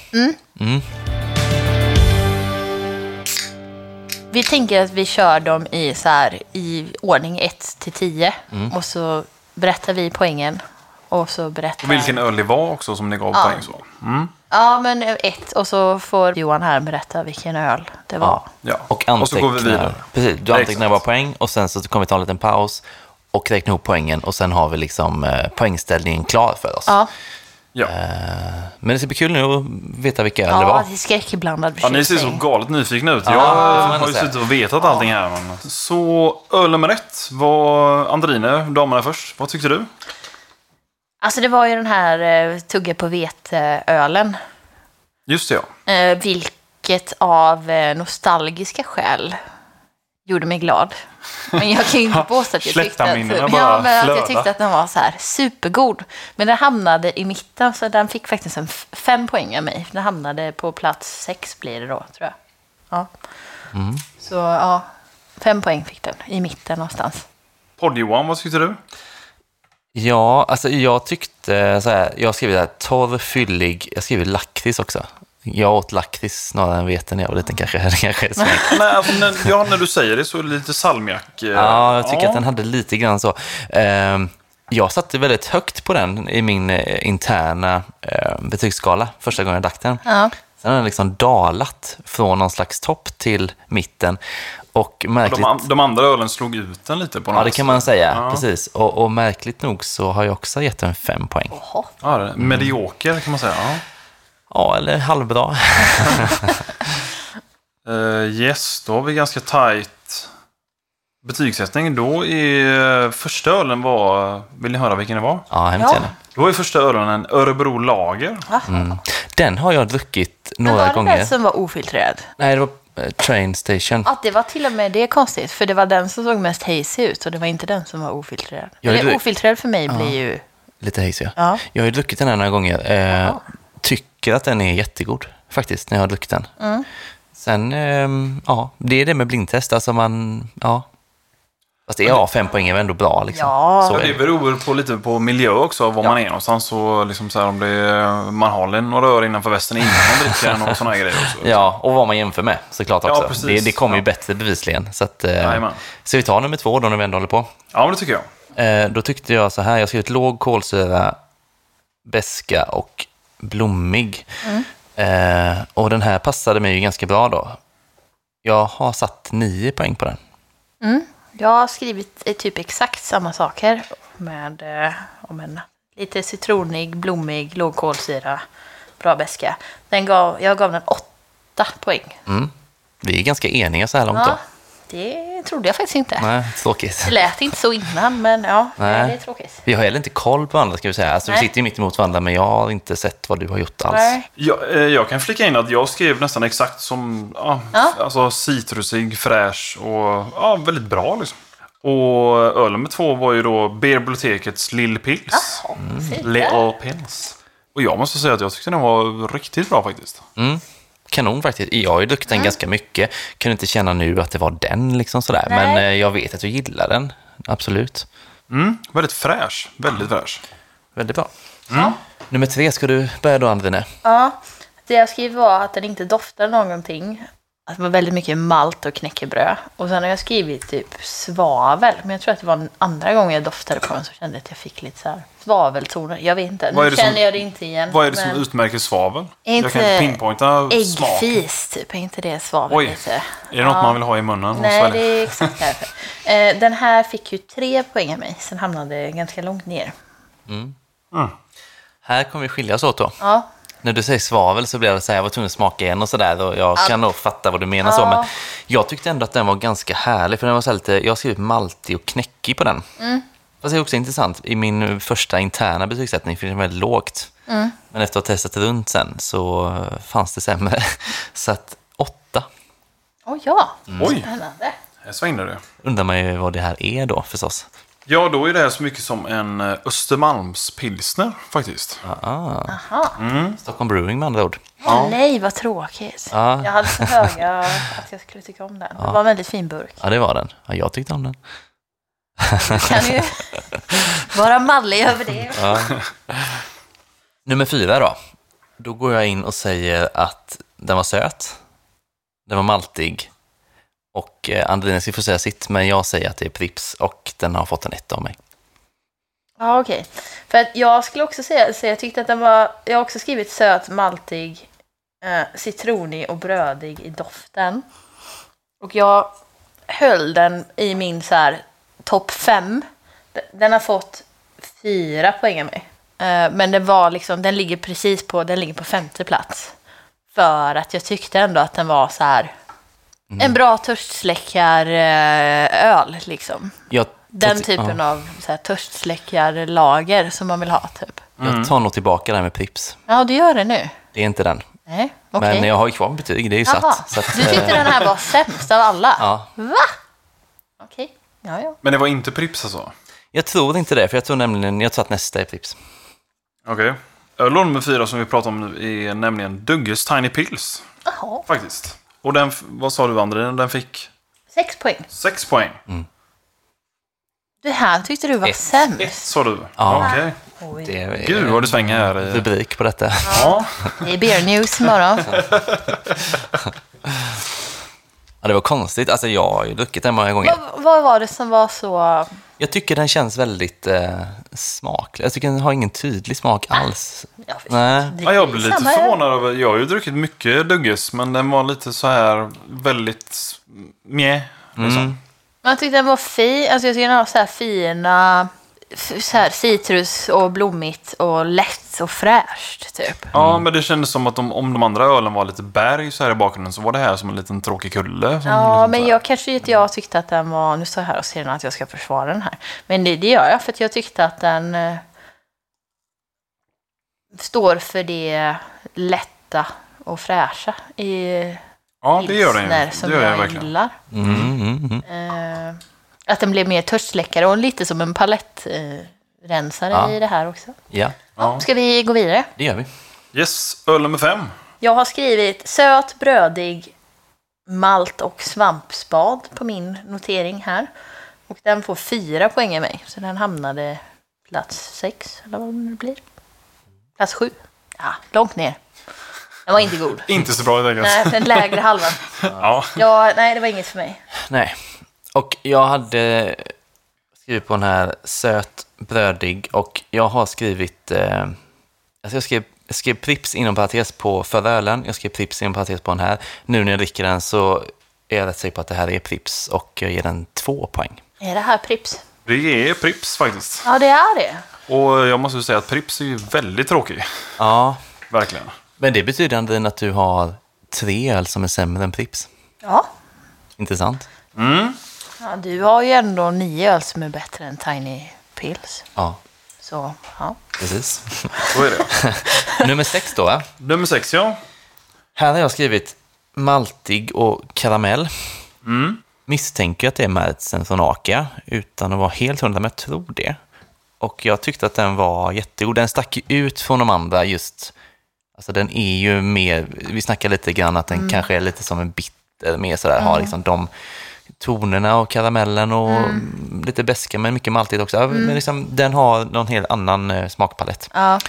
A: Vi tänker att vi kör dem i, så här, i ordning 1 till 10.
B: Mm.
A: Och så berättar vi poängen. Och så berättar...
C: Och vilken öl det var också som ni gav poäng så.
A: Ja, men ett. Och så får Johan här berätta vilken öl det var.
C: Ja.
B: Och antecknar.
C: så går vi vidare.
B: Precis, du antecknar
C: Exakt.
B: bara poäng och sen så kommer vi ta en liten paus och räkna ihop poängen och sen har vi liksom eh, poängställningen klar för oss.
A: Ja,
C: Ja.
B: Eh, Men det ska bli kul nu att veta vilka öl det
A: ja
B: var.
A: det är skräckblandad
C: Ja, ni ser så
A: förtjusning.
C: galet nyfikna ut. Jag
B: det får man
C: har ju
B: säga.
C: suttit och vetat allting här. Men... Så öl nummer ett var Andrine, damerna först. Vad tyckte du?
A: Alltså det var ju den här eh, tugga på veteölen.
C: Just det, ja.
A: Eh, vilket av eh, nostalgiska skäl gjorde mig glad. Men jag kan ju inte påstå att jag tyckte att, typ-
C: Släktarminnena
A: ja,
C: bara
A: men att
C: flödar.
A: jag tyckte att den var så här supergod. Men den hamnade i mitten, så den fick faktiskt en f- fem poäng av mig. Den hamnade på plats sex blir det då, tror jag. Ja.
C: Mm.
A: Så ja, fem poäng fick den i mitten någonstans.
C: Podd-Johan, vad tyckte du?
B: Ja, alltså jag tyckte så här, jag skrev det här torr, fyllig, jag skrev lakrits också. Jag åt lakrits snarare än vete när jag var liten kanske. Det kanske är så.
C: Nej, alltså, när, ja, när du säger det så är det lite salmiak. eh,
B: Ja, jag tycker att den hade lite grann så. Ehm, Jag satte väldigt högt på den i min eh, interna eh, betygsskala första gången jag drack den.
A: Ja.
B: Sen har den liksom dalat från någon slags topp till mitten. Och märkligt...
C: De, an- de andra ölen slog ut den lite på något
B: Ja, det kan man säga.
C: Ja.
B: Precis. Och, och märkligt nog så har jag också gett den fem poäng.
A: Jaha.
C: Ja, det- Medioker kan man säga. Ja.
B: Ja, eller halvbra.
C: Eh, yes, då har vi ganska tajt betygssättning. Då är eh, första ölen var... Vill ni höra vilken det var?
B: Ja, hemskt
A: Ja.
B: gärna.
C: Då är första ölen en Örebro Lager.
A: Va?
B: Den har jag druckit
A: Men
B: några
A: var det
B: gånger.
A: den som var ofiltrerad?
B: Nej, det var eh, Train Station.
A: Att det var till och med det är konstigt, för det var den som såg mest hazy ut och det var inte den som var ofiltrerad.
B: Ja,
A: Eller
B: det-
A: ofiltrerad för mig blir ju...
B: Lite hazy, ja.
A: Ja.
B: Jag har ju druckit den här några gånger. Eh, tycker att den är jättegod faktiskt, när jag har druckit den.
A: Mm.
B: Sen, ehm, ja, det är det med blindtest. Alltså man, ja. Fast det är, ja, fem poäng är väl ändå bra liksom.
A: Ja.
B: Så
C: Ja,
B: är
C: det
B: det.
C: beror på lite på miljö också, var man är någonstans. Så liksom så här, om det är, man har några öre innanför västen innan man dricker den och sådana grejer också.
B: Ja, och vad man jämför med såklart
C: Ja,
B: också.
C: precis.
B: det, det kommer ju
C: Ja.
B: bättre bevisligen. Så, att, eh,
C: Jajamän.
B: så vi tar nummer två då när vi ändå håller på.
C: Ja, men det tycker jag.
B: Eh, då tyckte jag så här, jag skrev ett låg kolsyra, beska och blommig. Eh, och den här passade mig ju ganska bra då. Jag har satt nio poäng på den.
A: Jag har skrivit eh, typ exakt samma saker med eh, om en lite citronig, blommig, lågkolsyra, bra beska. Den gav, jag gav den åtta poäng.
B: Mm. Vi är ganska eniga så här långt
A: Ja,
B: då.
A: det trodde jag faktiskt inte.
B: Nej, tråkigt.
A: Det lät inte så innan, men ja,
B: Nej.
A: nej. det är tråkigt.
B: Vi har heller inte koll på varandra ska vi säga. Alltså, vi
A: Nej.
B: sitter ju mitt emot varandra men jag har inte sett vad du har gjort alls.
A: Nej.
C: Jag, eh, jag kan flika in att jag skrev nästan exakt som ja,
A: Ja.
C: Alltså citrusig, fräsch och ja, väldigt bra. Liksom. Och öl nummer två var ju då bibliotekets Lill Pils.
A: Jaha, se där.
C: Little Pils. Och jag måste säga att jag tyckte den var riktigt bra faktiskt.
B: Mm. Kanon faktiskt. Jag har ju druckit
A: Mm.
B: den ganska mycket. Kunde inte känna nu att det var den liksom sådär.
A: Nej.
B: Men eh, jag vet att du gillar den. Absolut.
C: Mm, väldigt fräsch. Väldigt fräsch.
B: Väldigt bra. Nummer tre ska du börja då, Andine.
A: Ja, det jag skriver var att den inte doftar någonting. Att det var väldigt mycket malt och knäckebröd. Och sen har jag skrivit typ svavel. Men jag tror att det var den andra gången jag doftade på den så kände jag att jag fick lite så här svaveltoner. Jag vet inte,
C: Vad är
A: nu
C: det som-
A: känner jag det inte igen.
C: Vad är det
A: men
C: som utmärker svavel?
A: Inte
C: jag kan pinpointa smak.
A: Äggfis typ, är inte det svavel
C: Oj.
A: lite?
C: Är det något man vill ha i munnen? och
A: Nej, det
C: svälja?
A: är exakt därför. Eh, Den här fick ju tre poäng av mig, sen hamnade jag ganska långt ner.
B: Här kommer vi skiljas åt då.
A: Ja,
B: När du säger svavel så blev jag så här, jag var tvungen att smaka igen och sådär. Och jag kan nog fatta vad du menar så. Men jag tyckte ändå att den var ganska härlig. För den var så här lite, jag har skrivit maltig och knäckig på den. Fast det är också intressant. I min första interna betygssättning fick den väldigt lågt. Men efter att ha testat runt sen så fanns det sämre. Så att åtta.
A: oh, ja.
C: Oj,
A: Spännande.
C: här svängde det.
B: Undrar man ju vad det här är då förstås.
C: Ja, då är det här så mycket som en eh, Östermalmspilsner faktiskt.
A: Aha.
B: Ah,
C: Mm.
B: Stockholm Brewing med andra ord. Ah.
A: Åh, nej, vad tråkigt.
B: Ja.
A: Jag hade så höga att jag skulle tycka om den. Det var en väldigt fin burk.
B: Ja, det var den. Ja, jag tyckte om den.
A: Kan ju vara mallig över det.
B: Nummer fyra då. Då går jag in och säger att den var söt, den var maltig och eh, Andelina ska få säga sitt, men jag säger att det är Prips och den har fått en etta av mig.
A: Ja, okej. För att jag skulle också säga, så jag tyckte att den var, jag har också skrivit söt, maltig, eh, citronig och brödig i doften. Och jag höll den i min så här topp fem. D- Den har fått fyra poäng av mig. Eh, men den var liksom, den ligger precis på, den ligger på femte plats. För att jag tyckte ändå att den var så här, en bra törstsläckaröl liksom.
B: Jag,
A: Den
B: jag-
A: typen
B: ja,
A: av så här, törstsläckarlager som man vill ha typ.
C: Mm.
B: Jag tar nog tillbaka det här med Prips.
A: Ja, du gör det nu?
B: Det är inte den.
A: Nej, okej.
B: Men jag har ju kvar mitt betyg, det är ju
A: Jaha.
B: satt. Så att,
A: Du tyckte
B: eh,
A: den här var sämst av alla?
B: Ja.
A: Va? Okej. Ja, ja.
C: Men det var inte Prips alltså?
B: jag tror inte det, för jag tror nämligen, jag tror att nästa är Prips.
C: Okej. Öl nummer fyra som vi pratar om nu är nämligen Dugges Tiny Pills.
A: Jaha.
C: Faktiskt. Och den, f- vad sa du André? Den fick
A: Sex poäng.
C: sex poäng.
A: Det här tyckte du var
B: Ett.
C: Ett
A: sämst.
C: sa du?
B: Ja.
C: Okej.
A: Oj.
B: Det är
C: Gud vad du svänger här. i-
B: rubrik på detta.
C: Ja.
A: Det är beer news imorgon.
B: Ja, det var konstigt. Alltså, jag har ju druckit den många gånger.
A: vad, vad var det som var så...
B: Jag tycker den känns väldigt eh, smaklig. Jag tycker den har ingen tydlig smak alls.
A: Ja, visst.
B: Nej.
A: Det
C: Ja, jag
A: är
C: blir lite
A: samma öl.
C: förvånad över, jag har ju druckit mycket Dugges, men den var lite så här väldigt mjä.
A: Mm.
C: Liksom.
A: Men jag tyckte den var fin. Alltså jag tycker den har så här fina... f- Så här citrus och blommigt och lätt och fräscht typ.
C: Ja, men det kändes som att de, om de andra ölen var lite berg så här i bakgrunden så var det här som en liten tråkig kulle. som liksom så
A: Ja,
C: här-
A: men jag kanske inte jag tyckte att den var... Nu står jag här och ser att jag ska försvara den här. Men det, det gör jag för att jag tyckte att den eh, står för det lätta och fräscha i
C: Ja, det gör den ju.
A: pilsner
C: Det
A: som
C: gör
A: jag,
C: jag verkligen.
A: gillar.
B: Mm, mm, mm.
A: Eh, att den blev mer törstsläckare och lite som en palettrensare eh, rensare
B: Ja.
A: i det här också.
B: Ja,
C: Ja.
A: Ska vi gå vidare?
B: det gör vi.
C: Yes, öl nummer fem.
A: Jag har skrivit söt, brödig, malt och svampspad på min notering här. Och den får fyra poäng av mig, så den hamnade plats sex, eller vad det nu blir. Plats sju. Ja, långt ner. Den var inte god.
C: Inte så bra helt enkelt.
A: Nej, den lägre halvan.
C: Ja.
A: Ja, nej, det var inget för mig.
B: Nej. Och jag hade skrivit på den här söt, brödig och jag har skrivit... Eh, alltså jag skrev, jag skrev Prips inom parentes på förra ölen, jag skrev Prips inom parentes på den här. Nu när jag dricker den så är jag rätt säker på att det här är Prips och jag ger den två poäng.
A: Är det här Prips?
C: Det är Prips faktiskt.
A: Ja, det är det.
C: Och jag måste ju säga att Prips är ju väldigt tråkig.
B: Ja,
C: Verkligen.
B: Men det betyder ändå att du har tre öl som är sämre än Pripps.
A: Ja.
B: Intressant.
A: ja, du har ju ändå nio öl som är bättre än Tiny Pills.
B: Ja,
A: Så, ja.
B: precis.
C: Så är det.
B: Nummer sex då. va?
C: Nummer sex, ja.
B: Här har jag skrivit maltig och karamell. Misstänker att det är märtsen från Akia, utan att vara helt hundra, men jag tror det. Och jag tyckte att den var jättegod. Den stack ju ut från de andra just. Alltså den är ju mer, vi snackar lite grann att den kanske är lite som en bitter, mer sådär, har liksom de tonerna och karamellen och lite beska men mycket maltigt också. Men liksom, den har någon helt annan eh, smakpalett.
A: ja.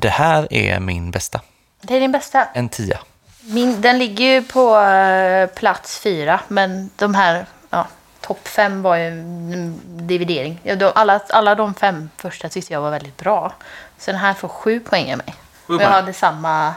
B: Det här är min bästa,
A: Det är din bästa.
B: en tia.
A: Min, den ligger ju på eh, plats fyra, men de här ja, topp fem var ju en dividering. Ja, de, alla, alla de fem första tyckte jag var väldigt bra. Så den här får sju poäng av mig. Och jag
C: poäng.
A: hade samma...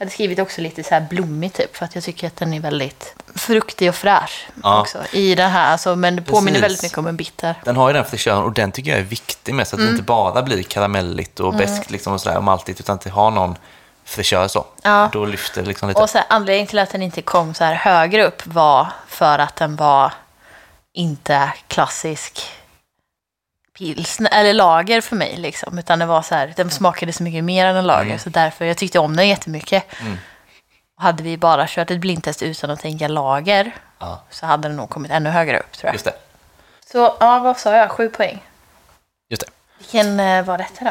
A: Jag hade skrivit också lite så här blommig typ, för att jag tycker att den är väldigt fruktig och fräsch
B: Ja.
A: också i den här. Alltså, men det påminner
B: Precis.
A: väldigt mycket om en bitter.
B: Den har ju den fräschören och den tycker jag är viktig med så
A: Mm.
B: att det inte bara blir karamelligt och beskt liksom och sådär och maltigt utan att det har någon fräschör så.
A: Ja.
B: Då lyfter det liksom lite.
A: Och så här, anledningen till att den inte kom så här högre upp var för att den var inte klassisk pilsn eller lager för mig liksom, utan det var så här, den smakade så mycket mer än en lager, så därför, jag tyckte om den jättemycket. Och hade vi bara kört ett blindtest utan att tänka lager,
B: Ja,
A: så hade den nog kommit ännu högre upp tror jag.
B: just det.
A: Så, ja, vad sa jag, sju poäng.
B: Just det.
A: Vilken eh, var detta då?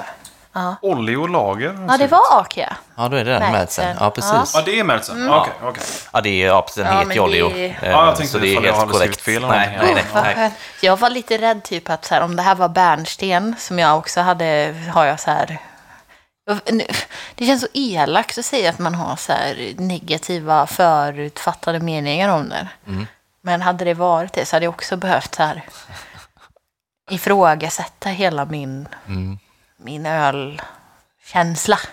C: Olje och lager.
A: Ja, det var Akia.
B: Ja, då är det den
A: Märtsen.
B: Madsen. Ja, precis.
C: Ja,
B: Ja.
C: det är Märtsen.
A: Mm.
C: Ja, Okej, okej.
B: det är, ja, precis, den
A: Ja,
B: heter
A: men
B: ju Olio.
A: det-
B: Eh,
C: Ja, jag tänkte
B: så det är
C: ifall jag
B: helt
C: hade skrivit
B: korrekt.
C: fel eller
B: nej, nej,
C: någonting.
B: nej,
A: Vad
B: nej.
A: skönt. Jag var lite rädd typ att så här, om det här var bärnsten som jag också hade, har jag så här... Nu- Det känns så elakt att säga att man har så här negativa förutfattade meningar om den. Men hade det varit det så hade jag också behövt så här ifrågasätta hela min, min ölkänsla.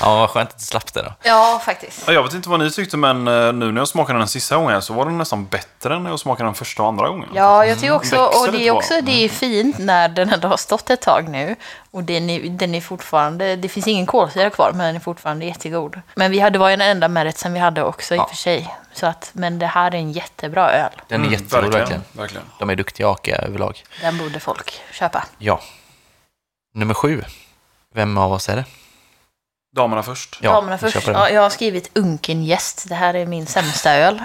B: Ja, vad skönt att du slapp det då.
A: Ja, faktiskt.
C: Ja, Jag vet inte vad ni tyckte, men eh, nu när jag smakade den sista gången så var den nästan bättre än när jag smakade den första och andra gången.
A: Ja, jag
B: Mm.
A: tycker också,
C: Växer
A: och det
C: lite
A: är
C: bara.
A: också det är fint när den ändå har stått ett tag nu. Och den är, den är fortfarande, det finns ingen kolsyra kvar, men den är fortfarande jättegod. Men vi hade var ju den enda meritsen vi hade också i och för sig. Så att, men det här är en jättebra öl.
B: Den är
C: Mm,
B: jättegod verkligen.
C: verkligen.
B: De är duktiga Akia överlag.
A: Den borde folk köpa.
B: Ja. Nummer sju. Vem av oss är det?
C: Damerna först.
B: Ja,
A: Damerna
B: vi
A: först.
B: köper den.
A: Ja, jag har skrivit unken gäst. Det här är min sämsta öl.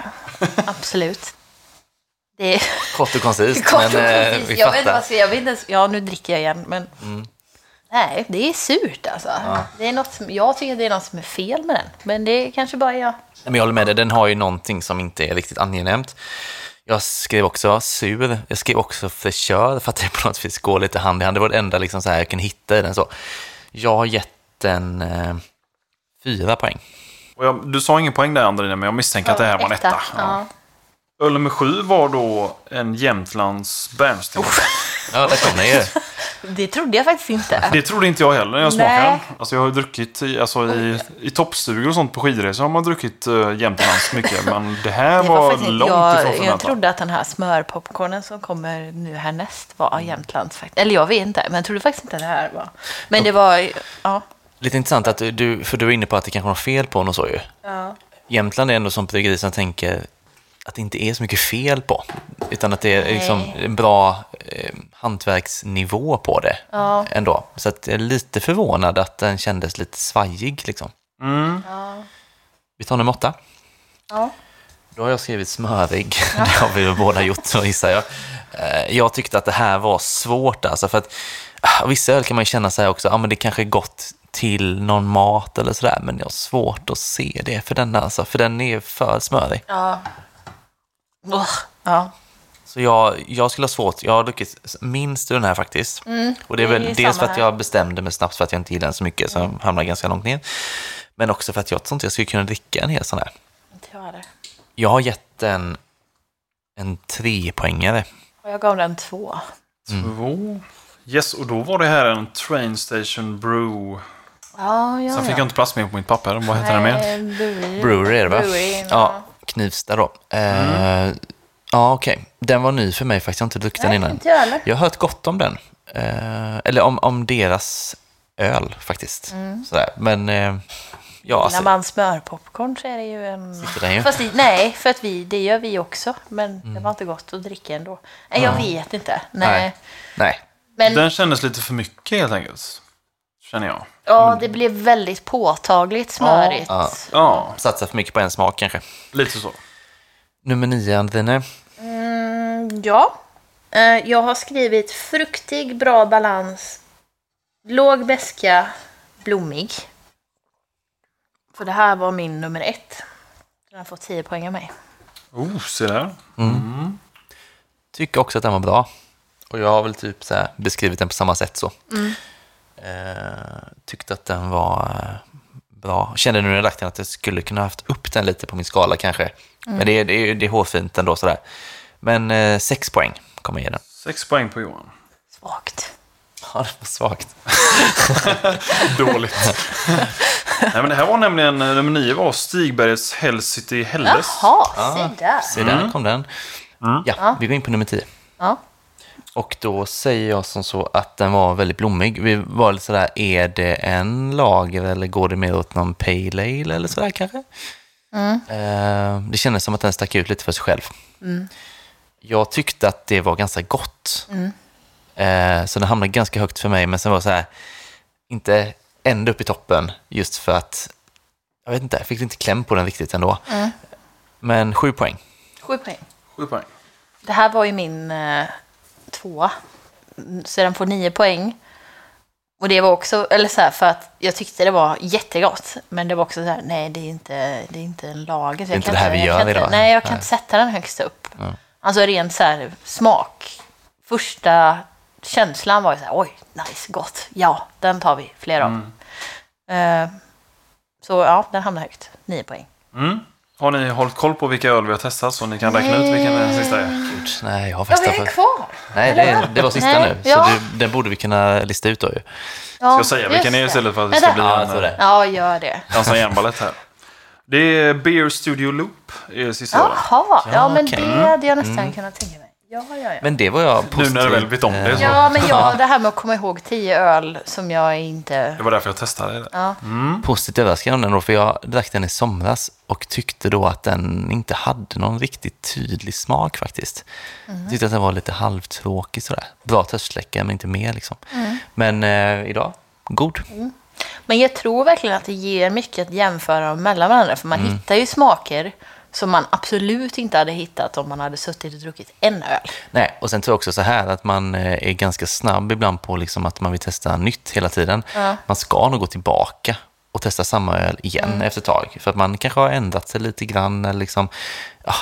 A: Absolut. Det är
B: Kort och koncist,
A: kort och
B: men eh,
A: koncist.
B: vi
A: jag vet inte vad
B: fattar. Mm.
A: jag ska- jag vet inte ens, Ja, nu dricker jag igen, men... Nej, det är surt alltså. Det är något som, jag tycker att det är något som är fel med den. Men det är kanske bara jag.
B: Nej, Men jag håller med dig, den har ju någonting som inte är riktigt angenämt. Jag skrev också sur, jag skrev också förkör för att det på något vis går lite hand i hand. Det var det enda liksom så här jag kunde hitta i den. Så. Jag har gett den eh, fyra poäng.
C: Och jag, du sa ingen poäng där Andrina, men jag misstänker att det här var en etta. Ja.
A: Ja.
C: Öl nummer sju var då en Jämtlands bärnsten.
B: Ja, där kom den ju.
A: Det trodde jag faktiskt inte.
C: Det trodde inte jag heller när jag smakade
A: Nej.
C: den. Alltså jag har ju druckit i, alltså i, i toppstugor och sånt på skidresor har man druckit uh, Jämtlands mycket. Men det här
A: Det
C: var,
A: faktiskt inte-
C: långt ifrån
A: jag, jag
C: förväntan.
A: trodde att den här smörpopcornen som kommer nu härnäst var
C: Mm.
A: Jämtlands faktiskt. Eller jag vet inte, men jag trodde faktiskt inte att det här var. Men det var, ja.
B: Lite intressant att du, för du är inne på att det kanske var något fel på den och så ju.
A: ja.
B: Jämtland är ändå som bryggeri som tänker att det inte är så mycket fel på, utan att det är liksom
A: Nej.
B: en bra eh, hantverksnivå på det
A: Ja.
B: ändå. Så att jag är lite förvånad att den kändes lite svajig. Liksom.
C: Mm.
B: Vi tar nummer åtta.
A: ja.
B: Då har jag skrivit smörig. Det har vi ju båda gjort, så gissar jag. Eh, Jag tyckte att det här var svårt. Alltså, för att, ah, vissa öl kan man ju känna så här också, ah, men det kanske är gott till någon mat eller sådär, men jag har svårt att se det för den, här, alltså, för den är för smörig.
A: Ja. Ugh. ja.
B: Så jag, jag skulle ha svårt, jag har druckit minst ur den här faktiskt. och det
A: Mm, det
B: är
A: är
B: väl
A: ju
B: dels för
A: samma
B: att
A: här. Mm.
B: jag bestämde mig snabbt för att jag inte gillar den så mycket, så jag hamnar ganska långt ner. Men också för att jag tror inte jag skulle kunna dricka en hel sån här.
A: Inte jag heller.
B: Jag har gett den en trepoängare.
A: Och jag gav den två.
C: Två. Yes, och då var det här en Train Station Brew.
A: Ja, ja,
C: Sen fick
A: ja. eh,
C: jag inte plats med på mitt papper. Vad heter den mer?
A: mer?
B: Brewery är det va?
A: Brewery,
B: ja, Knivsta då. Eh, ja, okej. Den var ny för mig faktiskt, jag har inte druckit den
A: Nej,
B: innan.
A: inte jag heller.
B: Jag har hört gott om den.
A: Mm.
B: Eh, eller om, om deras öl faktiskt. Sådär. Men eh, Ja,
A: Gillar
B: alltså,
A: man smörpopcorn så är det ju en...
B: sitter den ju.
A: Fast i, nej, för att vi, det gör vi också. Men det var inte gott att dricka ändå. Nej, jag vet inte. Nej.
B: Mm. Nej. Nej.
A: Men
C: Den kändes lite för mycket helt enkelt. Känner jag.
A: ja, det blev väldigt påtagligt smörigt.
B: Ja.
C: Ja,
B: Satsa för mycket på en smak kanske.
C: lite så.
B: Nummer nio, Andine.
A: Mm, ja. Eh, Jag har skrivit fruktig, bra balans, låg beska, blommig. För det här var min nummer ett. Den får 10 poäng av mig.
C: Oh, se där.
B: Tycker också att den var bra. Och jag har väl typ så här beskrivit den på samma sätt så. Eh, tyckte att den var eh, bra. Kände nu när jag lagt den att jag skulle kunna haft upp den lite på min skala kanske. Men det, är- det, är- det är hårfint ändå sådär. Men eh, sex poäng kommer jag ge den.
C: Sex poäng på Johan.
A: Svagt.
B: Ja, det var svagt.
C: Dåligt. Nej, men det här var nämligen, eh, nummer nio var Stigbergets Hellcity Helles.
A: Jaha,
B: Ah.
A: se där.
B: Se, där kom den. Ja, vi går in på nummer tio.
A: Ja.
B: Och då säger jag som så att den var väldigt blommig. Vi var lite sådär, är det en lager eller går det mer åt någon pale ale eller sådär kanske? Eh, det kändes som att den stack ut lite för sig själv. Jag tyckte att det var ganska gott. Eh, så den hamnade ganska högt för mig, men sen var det så här, inte ända upp i toppen just för att, jag vet inte, jag fick inte kläm på den riktigt ändå. Men sju poäng.
A: Sju poäng.
C: Sju poäng.
A: Det här var ju min eh, tvåa. Mm, Så den får nio poäng. Och det var också, eller så här, för att jag tyckte det var jättegott. Men det var också så här, nej det är inte, det är inte en lager. så jag
B: inte
A: kan
B: det här vi
A: jag
B: gör
A: kan inte,
B: idag.
A: Nej, jag kan
B: Nej.
A: inte sätta den högst upp. Alltså rent så här smak. Första känslan var ju så här, oj, nice, gott. Ja, den tar vi fler av.
B: Mm.
A: Eh, så ja, den hamnar högt. Nio poäng.
C: Mm. Har ni hållit koll på vilka öl vi har testat så ni kan räkna ut vilken den sista är?
B: Gud, Nej, jag har
A: Ja,
B: faktiskt...
A: vi är kvar.
B: Nej, det, det var sista
A: Nej,
B: nu. Så
A: ja.
B: det, den borde vi kunna lista ut då ju.
C: Ska jag säga vilken är istället för att det ska
A: Vänta.
C: bli
B: Ja, jag tror
C: en,
B: det.
C: eh,
A: Ja, gör det.
C: dansa järnbalett här? Det är Beer Studio Loop är sista ölen.
A: Jaha, ja,
B: Ja,
A: men
B: okej.
A: det hade
C: Mm.
A: jag nästan kunnat tänka mig. Ja, ja, ja.
B: Men det var jag
C: Nu när du väl vet om det. så.
A: ja, men jag, det här med att komma ihåg tio öl som jag inte...
C: Det var därför jag testade det. Mm.
A: Ja.
B: positivt överraskad om den då, för jag drack den i somras och tyckte då att den inte hade någon riktigt tydlig smak faktiskt.
A: Mhm.
B: Tyckte att den var lite halvtråkig sådär. Bra törstsläckare men inte mer liksom.
A: Mm.
B: Men eh, idag, god.
A: Men jag tror verkligen att det ger mycket att jämföra dem mellan varandra, för man
C: Mm.
A: hittar ju smaker som man absolut inte hade hittat om man hade suttit och druckit en öl.
B: Nej, och sen tror jag också så här att man eh, är ganska snabb ibland på liksom att man vill testa nytt hela tiden. Man ska nog gå tillbaka och testa samma öl igen efter ett tag. För att man kanske har ändrat sig lite grann eller liksom, ja,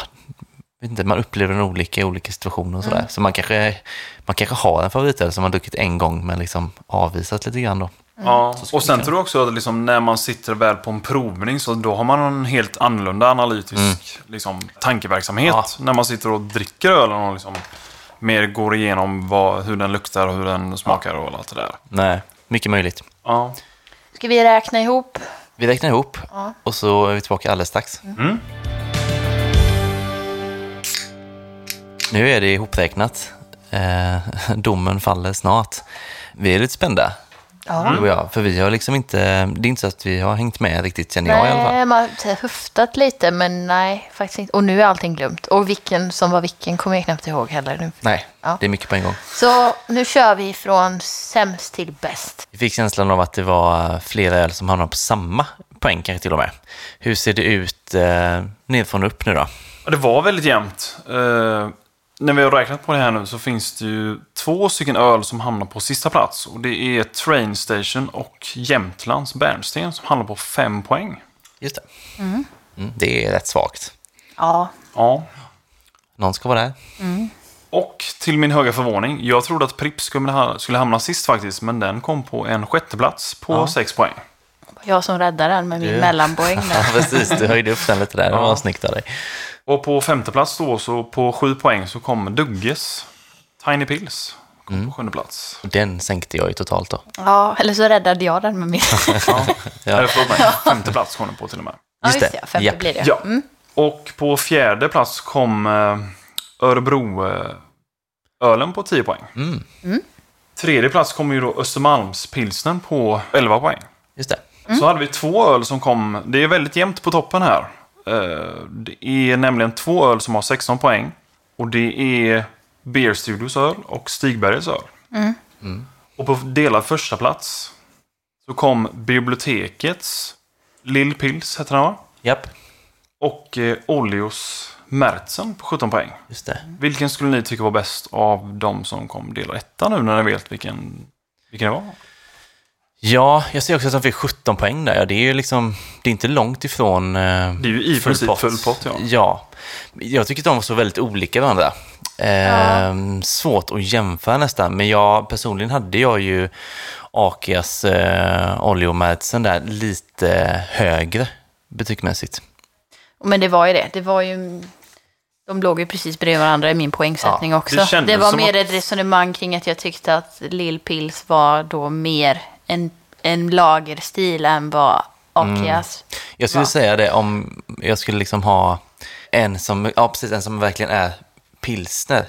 B: vet inte, man upplever den olika i olika situationer och sådär. Så man kanske, man kanske har en favoritöl som man druckit en gång men liksom avvisat lite grann då.
C: Ja, och sen tror jag också att liksom när man sitter väl på en provning så då har man en helt annorlunda analytisk liksom, tankeverksamhet.
B: Ja.
C: När man sitter och dricker ölen och liksom mer går igenom vad, hur den luktar och hur den smakar och allt det där.
B: Nej, mycket möjligt.
C: Ja.
A: Ska vi räkna ihop?
B: Vi räknar ihop och så är vi tillbaka alldeles strax.
A: Mm.
B: Nu är det ihopräknat. Eh, domen faller snart. Vi är lite spända,
A: Ja.
B: du och jag. För vi har liksom inte, det är inte så att vi har hängt med riktigt, känner jag i alla fall.
A: Nej, man har så här höftat lite, men nej, faktiskt inte. Och nu är allting glömt. Och vilken som var vilken kommer jag knappt ihåg heller. Nu.
B: Nej,
A: Ja.
B: det är mycket på en gång.
A: Så nu kör vi från sämst till bäst.
B: Vi fick känslan av att det var flera öl som hamnade på samma poäng kanske till och med. Hur ser det ut eh, nerifrån och upp nu då?
C: Ja, Det var väldigt jämnt. Eh, när vi har räknat på det här nu så finns det ju två stycken öl som hamnar på sista plats. Och det är Train Station och Jämtlands Bärnsten som hamnar på fem poäng.
B: Just det. Mm, det är rätt svagt.
A: Ja,
C: Ja.
B: Någon ska vara där.
C: Och till min höga förvåning, jag trodde att Prips skulle ha- skulle hamna sist faktiskt, men den kom på en sjätteplats på sex poäng.
A: Jag som räddar den med min
B: Du.
A: mellanpoäng.
B: Ja,
A: där.
B: precis. Du höjde upp den lite där. Det var
C: Ja.
B: snyggt av dig.
C: Och på femte plats då, så på sju poäng, så kom Dugges Tiny Pills. Kom på sjunde plats.
B: Den sänkte jag ju totalt då.
A: Ja, eller så räddade jag den med min.
C: Ja.
B: Ja.
C: Eller förlåt mig, femte plats kom den på till och med.
A: Ja,
B: Just
A: just
B: det.
A: det. Femte
B: Japp.
A: blir det. Mm.
C: Ja. Och på fjärde plats kom eh, Örebro-ölen på 10 poäng.
B: Mm,
C: Tredje plats kommer ju då Östermalmspilsnern på 11 poäng.
B: just det.
C: Så hade vi två öl som kom. Det är väldigt jämnt på toppen här. Eh, Det är nämligen två öl som har 16 poäng. Och det är Beer Studios öl och Stigbergets öl. Och på delad första plats så kom Bibliotekets Lill Pils, heter den va?
B: Japp,
C: Och eh, Ollios Mertzen på 17 poäng.
B: just det.
C: Vilken skulle ni tycka var bäst av de som kom delad etta nu när ni vet vilken, vilken det var?
B: Ja, jag ser också att de fick 17 poäng där. Ja, det är ju liksom, det är inte långt ifrån eh,
C: Det är ju i
B: full
C: princip
B: pott.
C: full pott, ja.
B: ja. Jag tycker att de var så väldigt olika varandra. Eh, Svårt att jämföra nästan, men jag, personligen hade jag ju Akias eh, oljeomätsen där lite högre betygsmässigt.
A: Men det var ju det. det var ju, de låg ju precis bredvid varandra i min poängsättning också.
C: det
A: Det,
C: kändes
A: var
C: som
A: mer
C: att-
A: ett resonemang kring att jag tyckte att Lill Pils var då mer en, en lagerstil än vad Akias.
C: Mm.
B: Jag skulle
A: Va?
B: säga det om jag skulle liksom ha en som, ja, precis, en som verkligen är pilsner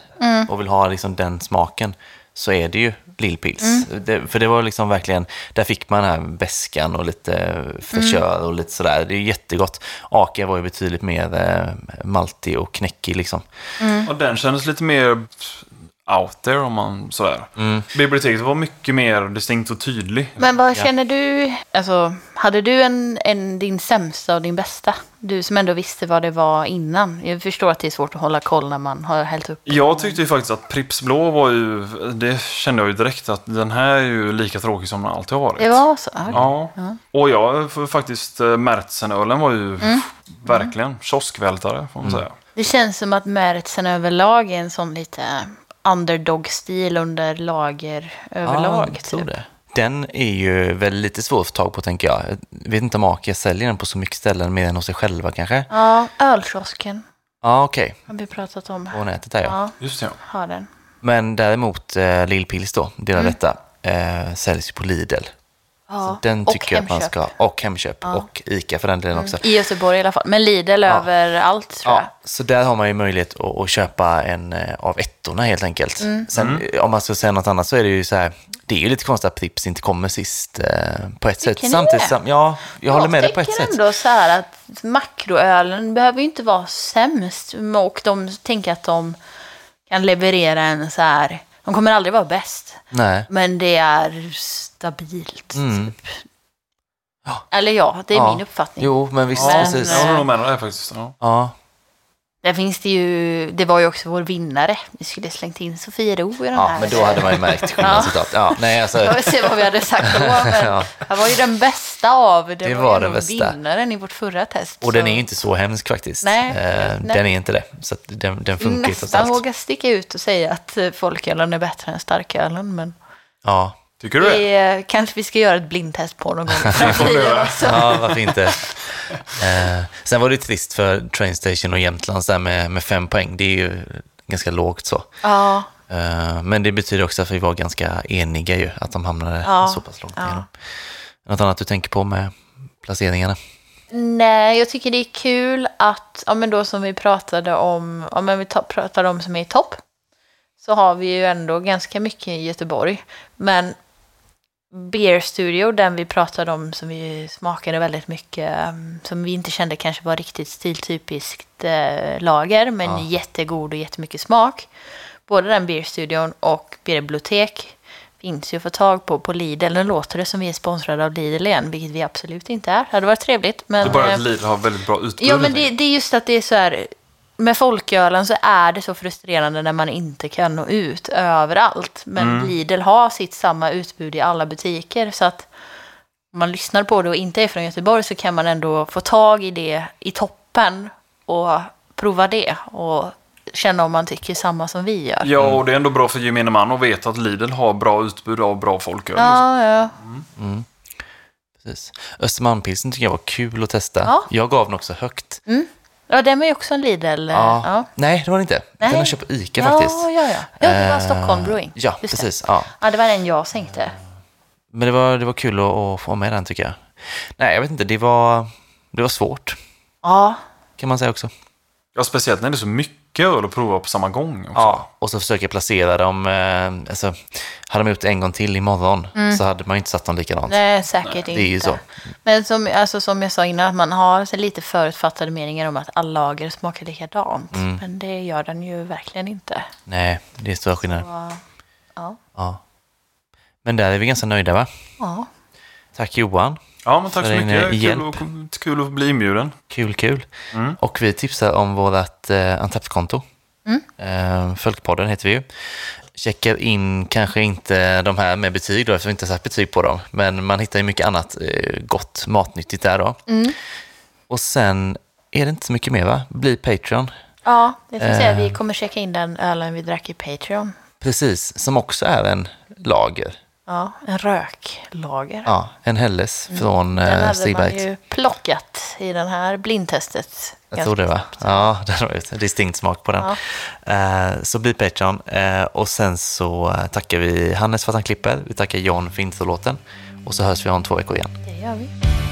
B: och vill ha liksom den smaken så är det ju lillpils. Det, för det var liksom verkligen, där fick man den här väskan och lite förkör och lite sådär. Det är ju jättegott. Aka var ju betydligt mer eh, maltig och knäckig liksom.
C: Och den kändes lite mer out there om man sådär. Biblioteket var mycket mer distinkt och tydlig.
A: Men vad känner du, alltså hade du en, en, din sämsta och din bästa? Du som ändå visste vad det var innan. Jag förstår att det är svårt att hålla koll när man har hällt upp.
C: Jag tyckte ju faktiskt att Pripps Blå var ju, det kände jag ju direkt att den här är ju lika tråkig som den alltid har varit.
A: Det var så?
C: Ja, och jag för faktiskt, eh, Märtsenölen var ju verkligen kioskvältare får man säga.
A: Det känns som att Märtsen överlag är en sån lite underdog-stil under lager överlag. typ.
B: jag tror typ. det. Den är ju väl lite svår att få tag på tänker jag. Jag vet inte om Aka säljer den på så mycket ställen mer än hos sig själva kanske. Ja,
A: Ja, ölkiosken
B: okej.
A: har vi pratat om.
B: På nätet där
A: Ja,
C: Just det, ja.
A: har den.
B: Men däremot eh, Lillpils då, delar detta, eh, säljs ju på Lidl.
A: Mm. Ja.
B: Så den
A: och
B: tycker jag att man
A: Hemköp. Mm,
B: ska, och Hemköp och Ica för den delen också.
A: I Göteborg i alla fall, men Lidl överallt tror jag.
B: Ja, så där har man ju möjlighet att, att köpa en eh, av ettorna helt enkelt.
A: Mm.
B: Sen eh, om man ska säga något annat så är det ju så här, det är ju lite konstigt att Pripps inte kommer sist eh, på ett sätt.
A: Tycker ni
B: Samtidigt
A: det?
B: som, ja, jag, håller med dig på ett
A: tänker
B: sätt.
A: ändå så här att makroölen behöver ju inte vara sämst. Och de tänker att de kan leverera en så här... De kommer aldrig vara bäst.
B: Nej.
A: Men det är stabilt.
B: Mm.
A: Typ. Eller ja, det är
B: Ja.
A: min uppfattning.
B: Jo, men visst,
A: Men, eh,
B: precis.
C: Jag håller nog med dig där faktiskt. Ja.
B: Ja.
A: Där finns det ju, det var ju också vår vinnare. Vi skulle slängt in Sofiero i den
B: ja,
A: här.
B: men då hade man ju märkt skillnad
A: Ja.
B: såklart. Ja, nej, alltså,
A: Jag får se vad vi hade sagt då. Men
B: Ja.
A: Det var ju den bästa av. Det,
B: Det
A: var,
B: var
A: ju
B: den
A: nog
B: bästa.
A: vinnaren i vårt förra test.
B: Och den
A: så
B: är ju inte så hemsk faktiskt.
A: Nej,
B: Eh,
A: nej.
B: Den är inte det. Så att den, den funkar ju trots
A: Nästan
B: allt.
A: vågar sticka ut och säga att eh, folkölen är bättre än starkölen. Men
B: Ja.
C: Tycker du det?
A: det är, kanske vi ska göra ett blindtest på någon gång i framtiden också.
B: ja, varför inte? Eh, sen var det ju trist för Train Station och Jämtlands där med, med fem poäng. Det är ju ganska lågt så.
A: Ja,
B: Eh, men det betyder också att vi var ganska eniga ju, att de hamnade
A: Ja,
B: så pass långt
A: ja.
B: igenom. Något annat du tänker på med placeringarna?
A: Nej, jag tycker det är kul att, ja men då som vi pratade om, ja men vi ta- pratade om som är i topp, så har vi ju ändå ganska mycket i Göteborg. Men Beer Studio, den vi pratade om som vi smakade väldigt mycket, mm, som vi inte kände kanske var riktigt stiltypiskt eh, lager, men
B: Ja.
A: jättegod och jättemycket smak. Både den Beer Studion och Bibliotek finns ju att få tag på på Lidl. Nu låter det som vi är sponsrade av Lidl igen, vilket vi absolut inte är. Det hade varit trevligt, men...
C: Det är bara
A: eh,
C: att Lidl har väldigt bra utbud.
A: Ja, men
C: helt
A: det, det är just att det är så här... Med folkölen så är det så frustrerande när man inte kan nå ut överallt. Men
C: Mm.
A: Lidl har sitt samma utbud i alla butiker. Så att om man lyssnar på det och inte är från Göteborg så kan man ändå få tag i det i toppen och prova det och känna om man tycker samma som vi gör.
C: Ja, och det är ändå bra för gemene man att veta att Lidl har bra utbud av bra folköl.
A: Ja, ja.
B: Precis. Östermalmspilsen tycker jag var kul att testa.
A: Ja.
B: Jag gav den också högt.
A: ja den var ju också en Lidl. eh,
B: Ja.
A: Ja,
B: Nej, det var det inte.
A: Nej.
B: Den har köpt på Ica
A: ja,
B: faktiskt.
A: ja, ja. ja det var
B: Eh,
A: Stockholm Brewing.
B: Ja,
A: Just det.
B: precis. Ja.
A: Ja, det var den jag sänkte.
B: Men det var, det var kul att, att få med den tycker jag. Nej, jag vet inte. Det var, det var svårt
A: Ja,
B: kan man säga också.
C: Ja, speciellt när det är så mycket mycket öl att prova på samma gång. Också.
B: Ja, och så försöker placera dem. Eh, alltså, hade de gjort en gång till imorgon så hade man ju inte satt dem likadant.
A: Nej, säkert inte.
B: det är ju så.
A: Men som, alltså, som jag sa innan, att man har så lite förutfattade meningar om att all lager smakar likadant.
B: Mm.
A: Men det gör den ju verkligen inte.
B: Nej, det är stora skillnader.
A: Så, ja.
B: Ja. Men där är vi ganska nöjda va?
A: ja.
B: Tack Johan.
C: Ja, men tack
B: För
C: så
B: din, eh,
C: mycket.
B: hjälp.
C: Kul att, kul att bli inbjuden.
B: Kul, kul. Och vi tipsar om vårt eh, Antapped-konto.
A: Mm.
B: Eh, Folkpodden heter vi ju. Checkar in kanske inte de här med betyg då, eftersom vi inte har satt betyg på dem. Men man hittar ju mycket annat eh, gott, matnyttigt där då.
A: Mm.
B: Och sen är det inte så mycket mer va? Bli Patreon.
A: ja, det ska jag säga.
B: Eh.
A: Vi kommer checka in den ölen vi drack i Patreon.
B: Precis, som också är en lager.
A: Ja, en röklager.
B: Ja, en Helles från
A: Mm. Den
B: eh,
A: hade man
B: Stigberg.
A: ju plockat i den här blindtestet.
B: Jag tror det va? Ja, det var ett distinkt smak på den. Eh, så bli Patreon. Eh, och sen så eh, tackar vi Hannes för att han klipper. Vi tackar John för introlåten. Och så hörs vi om två veckor igen.
A: Det gör vi.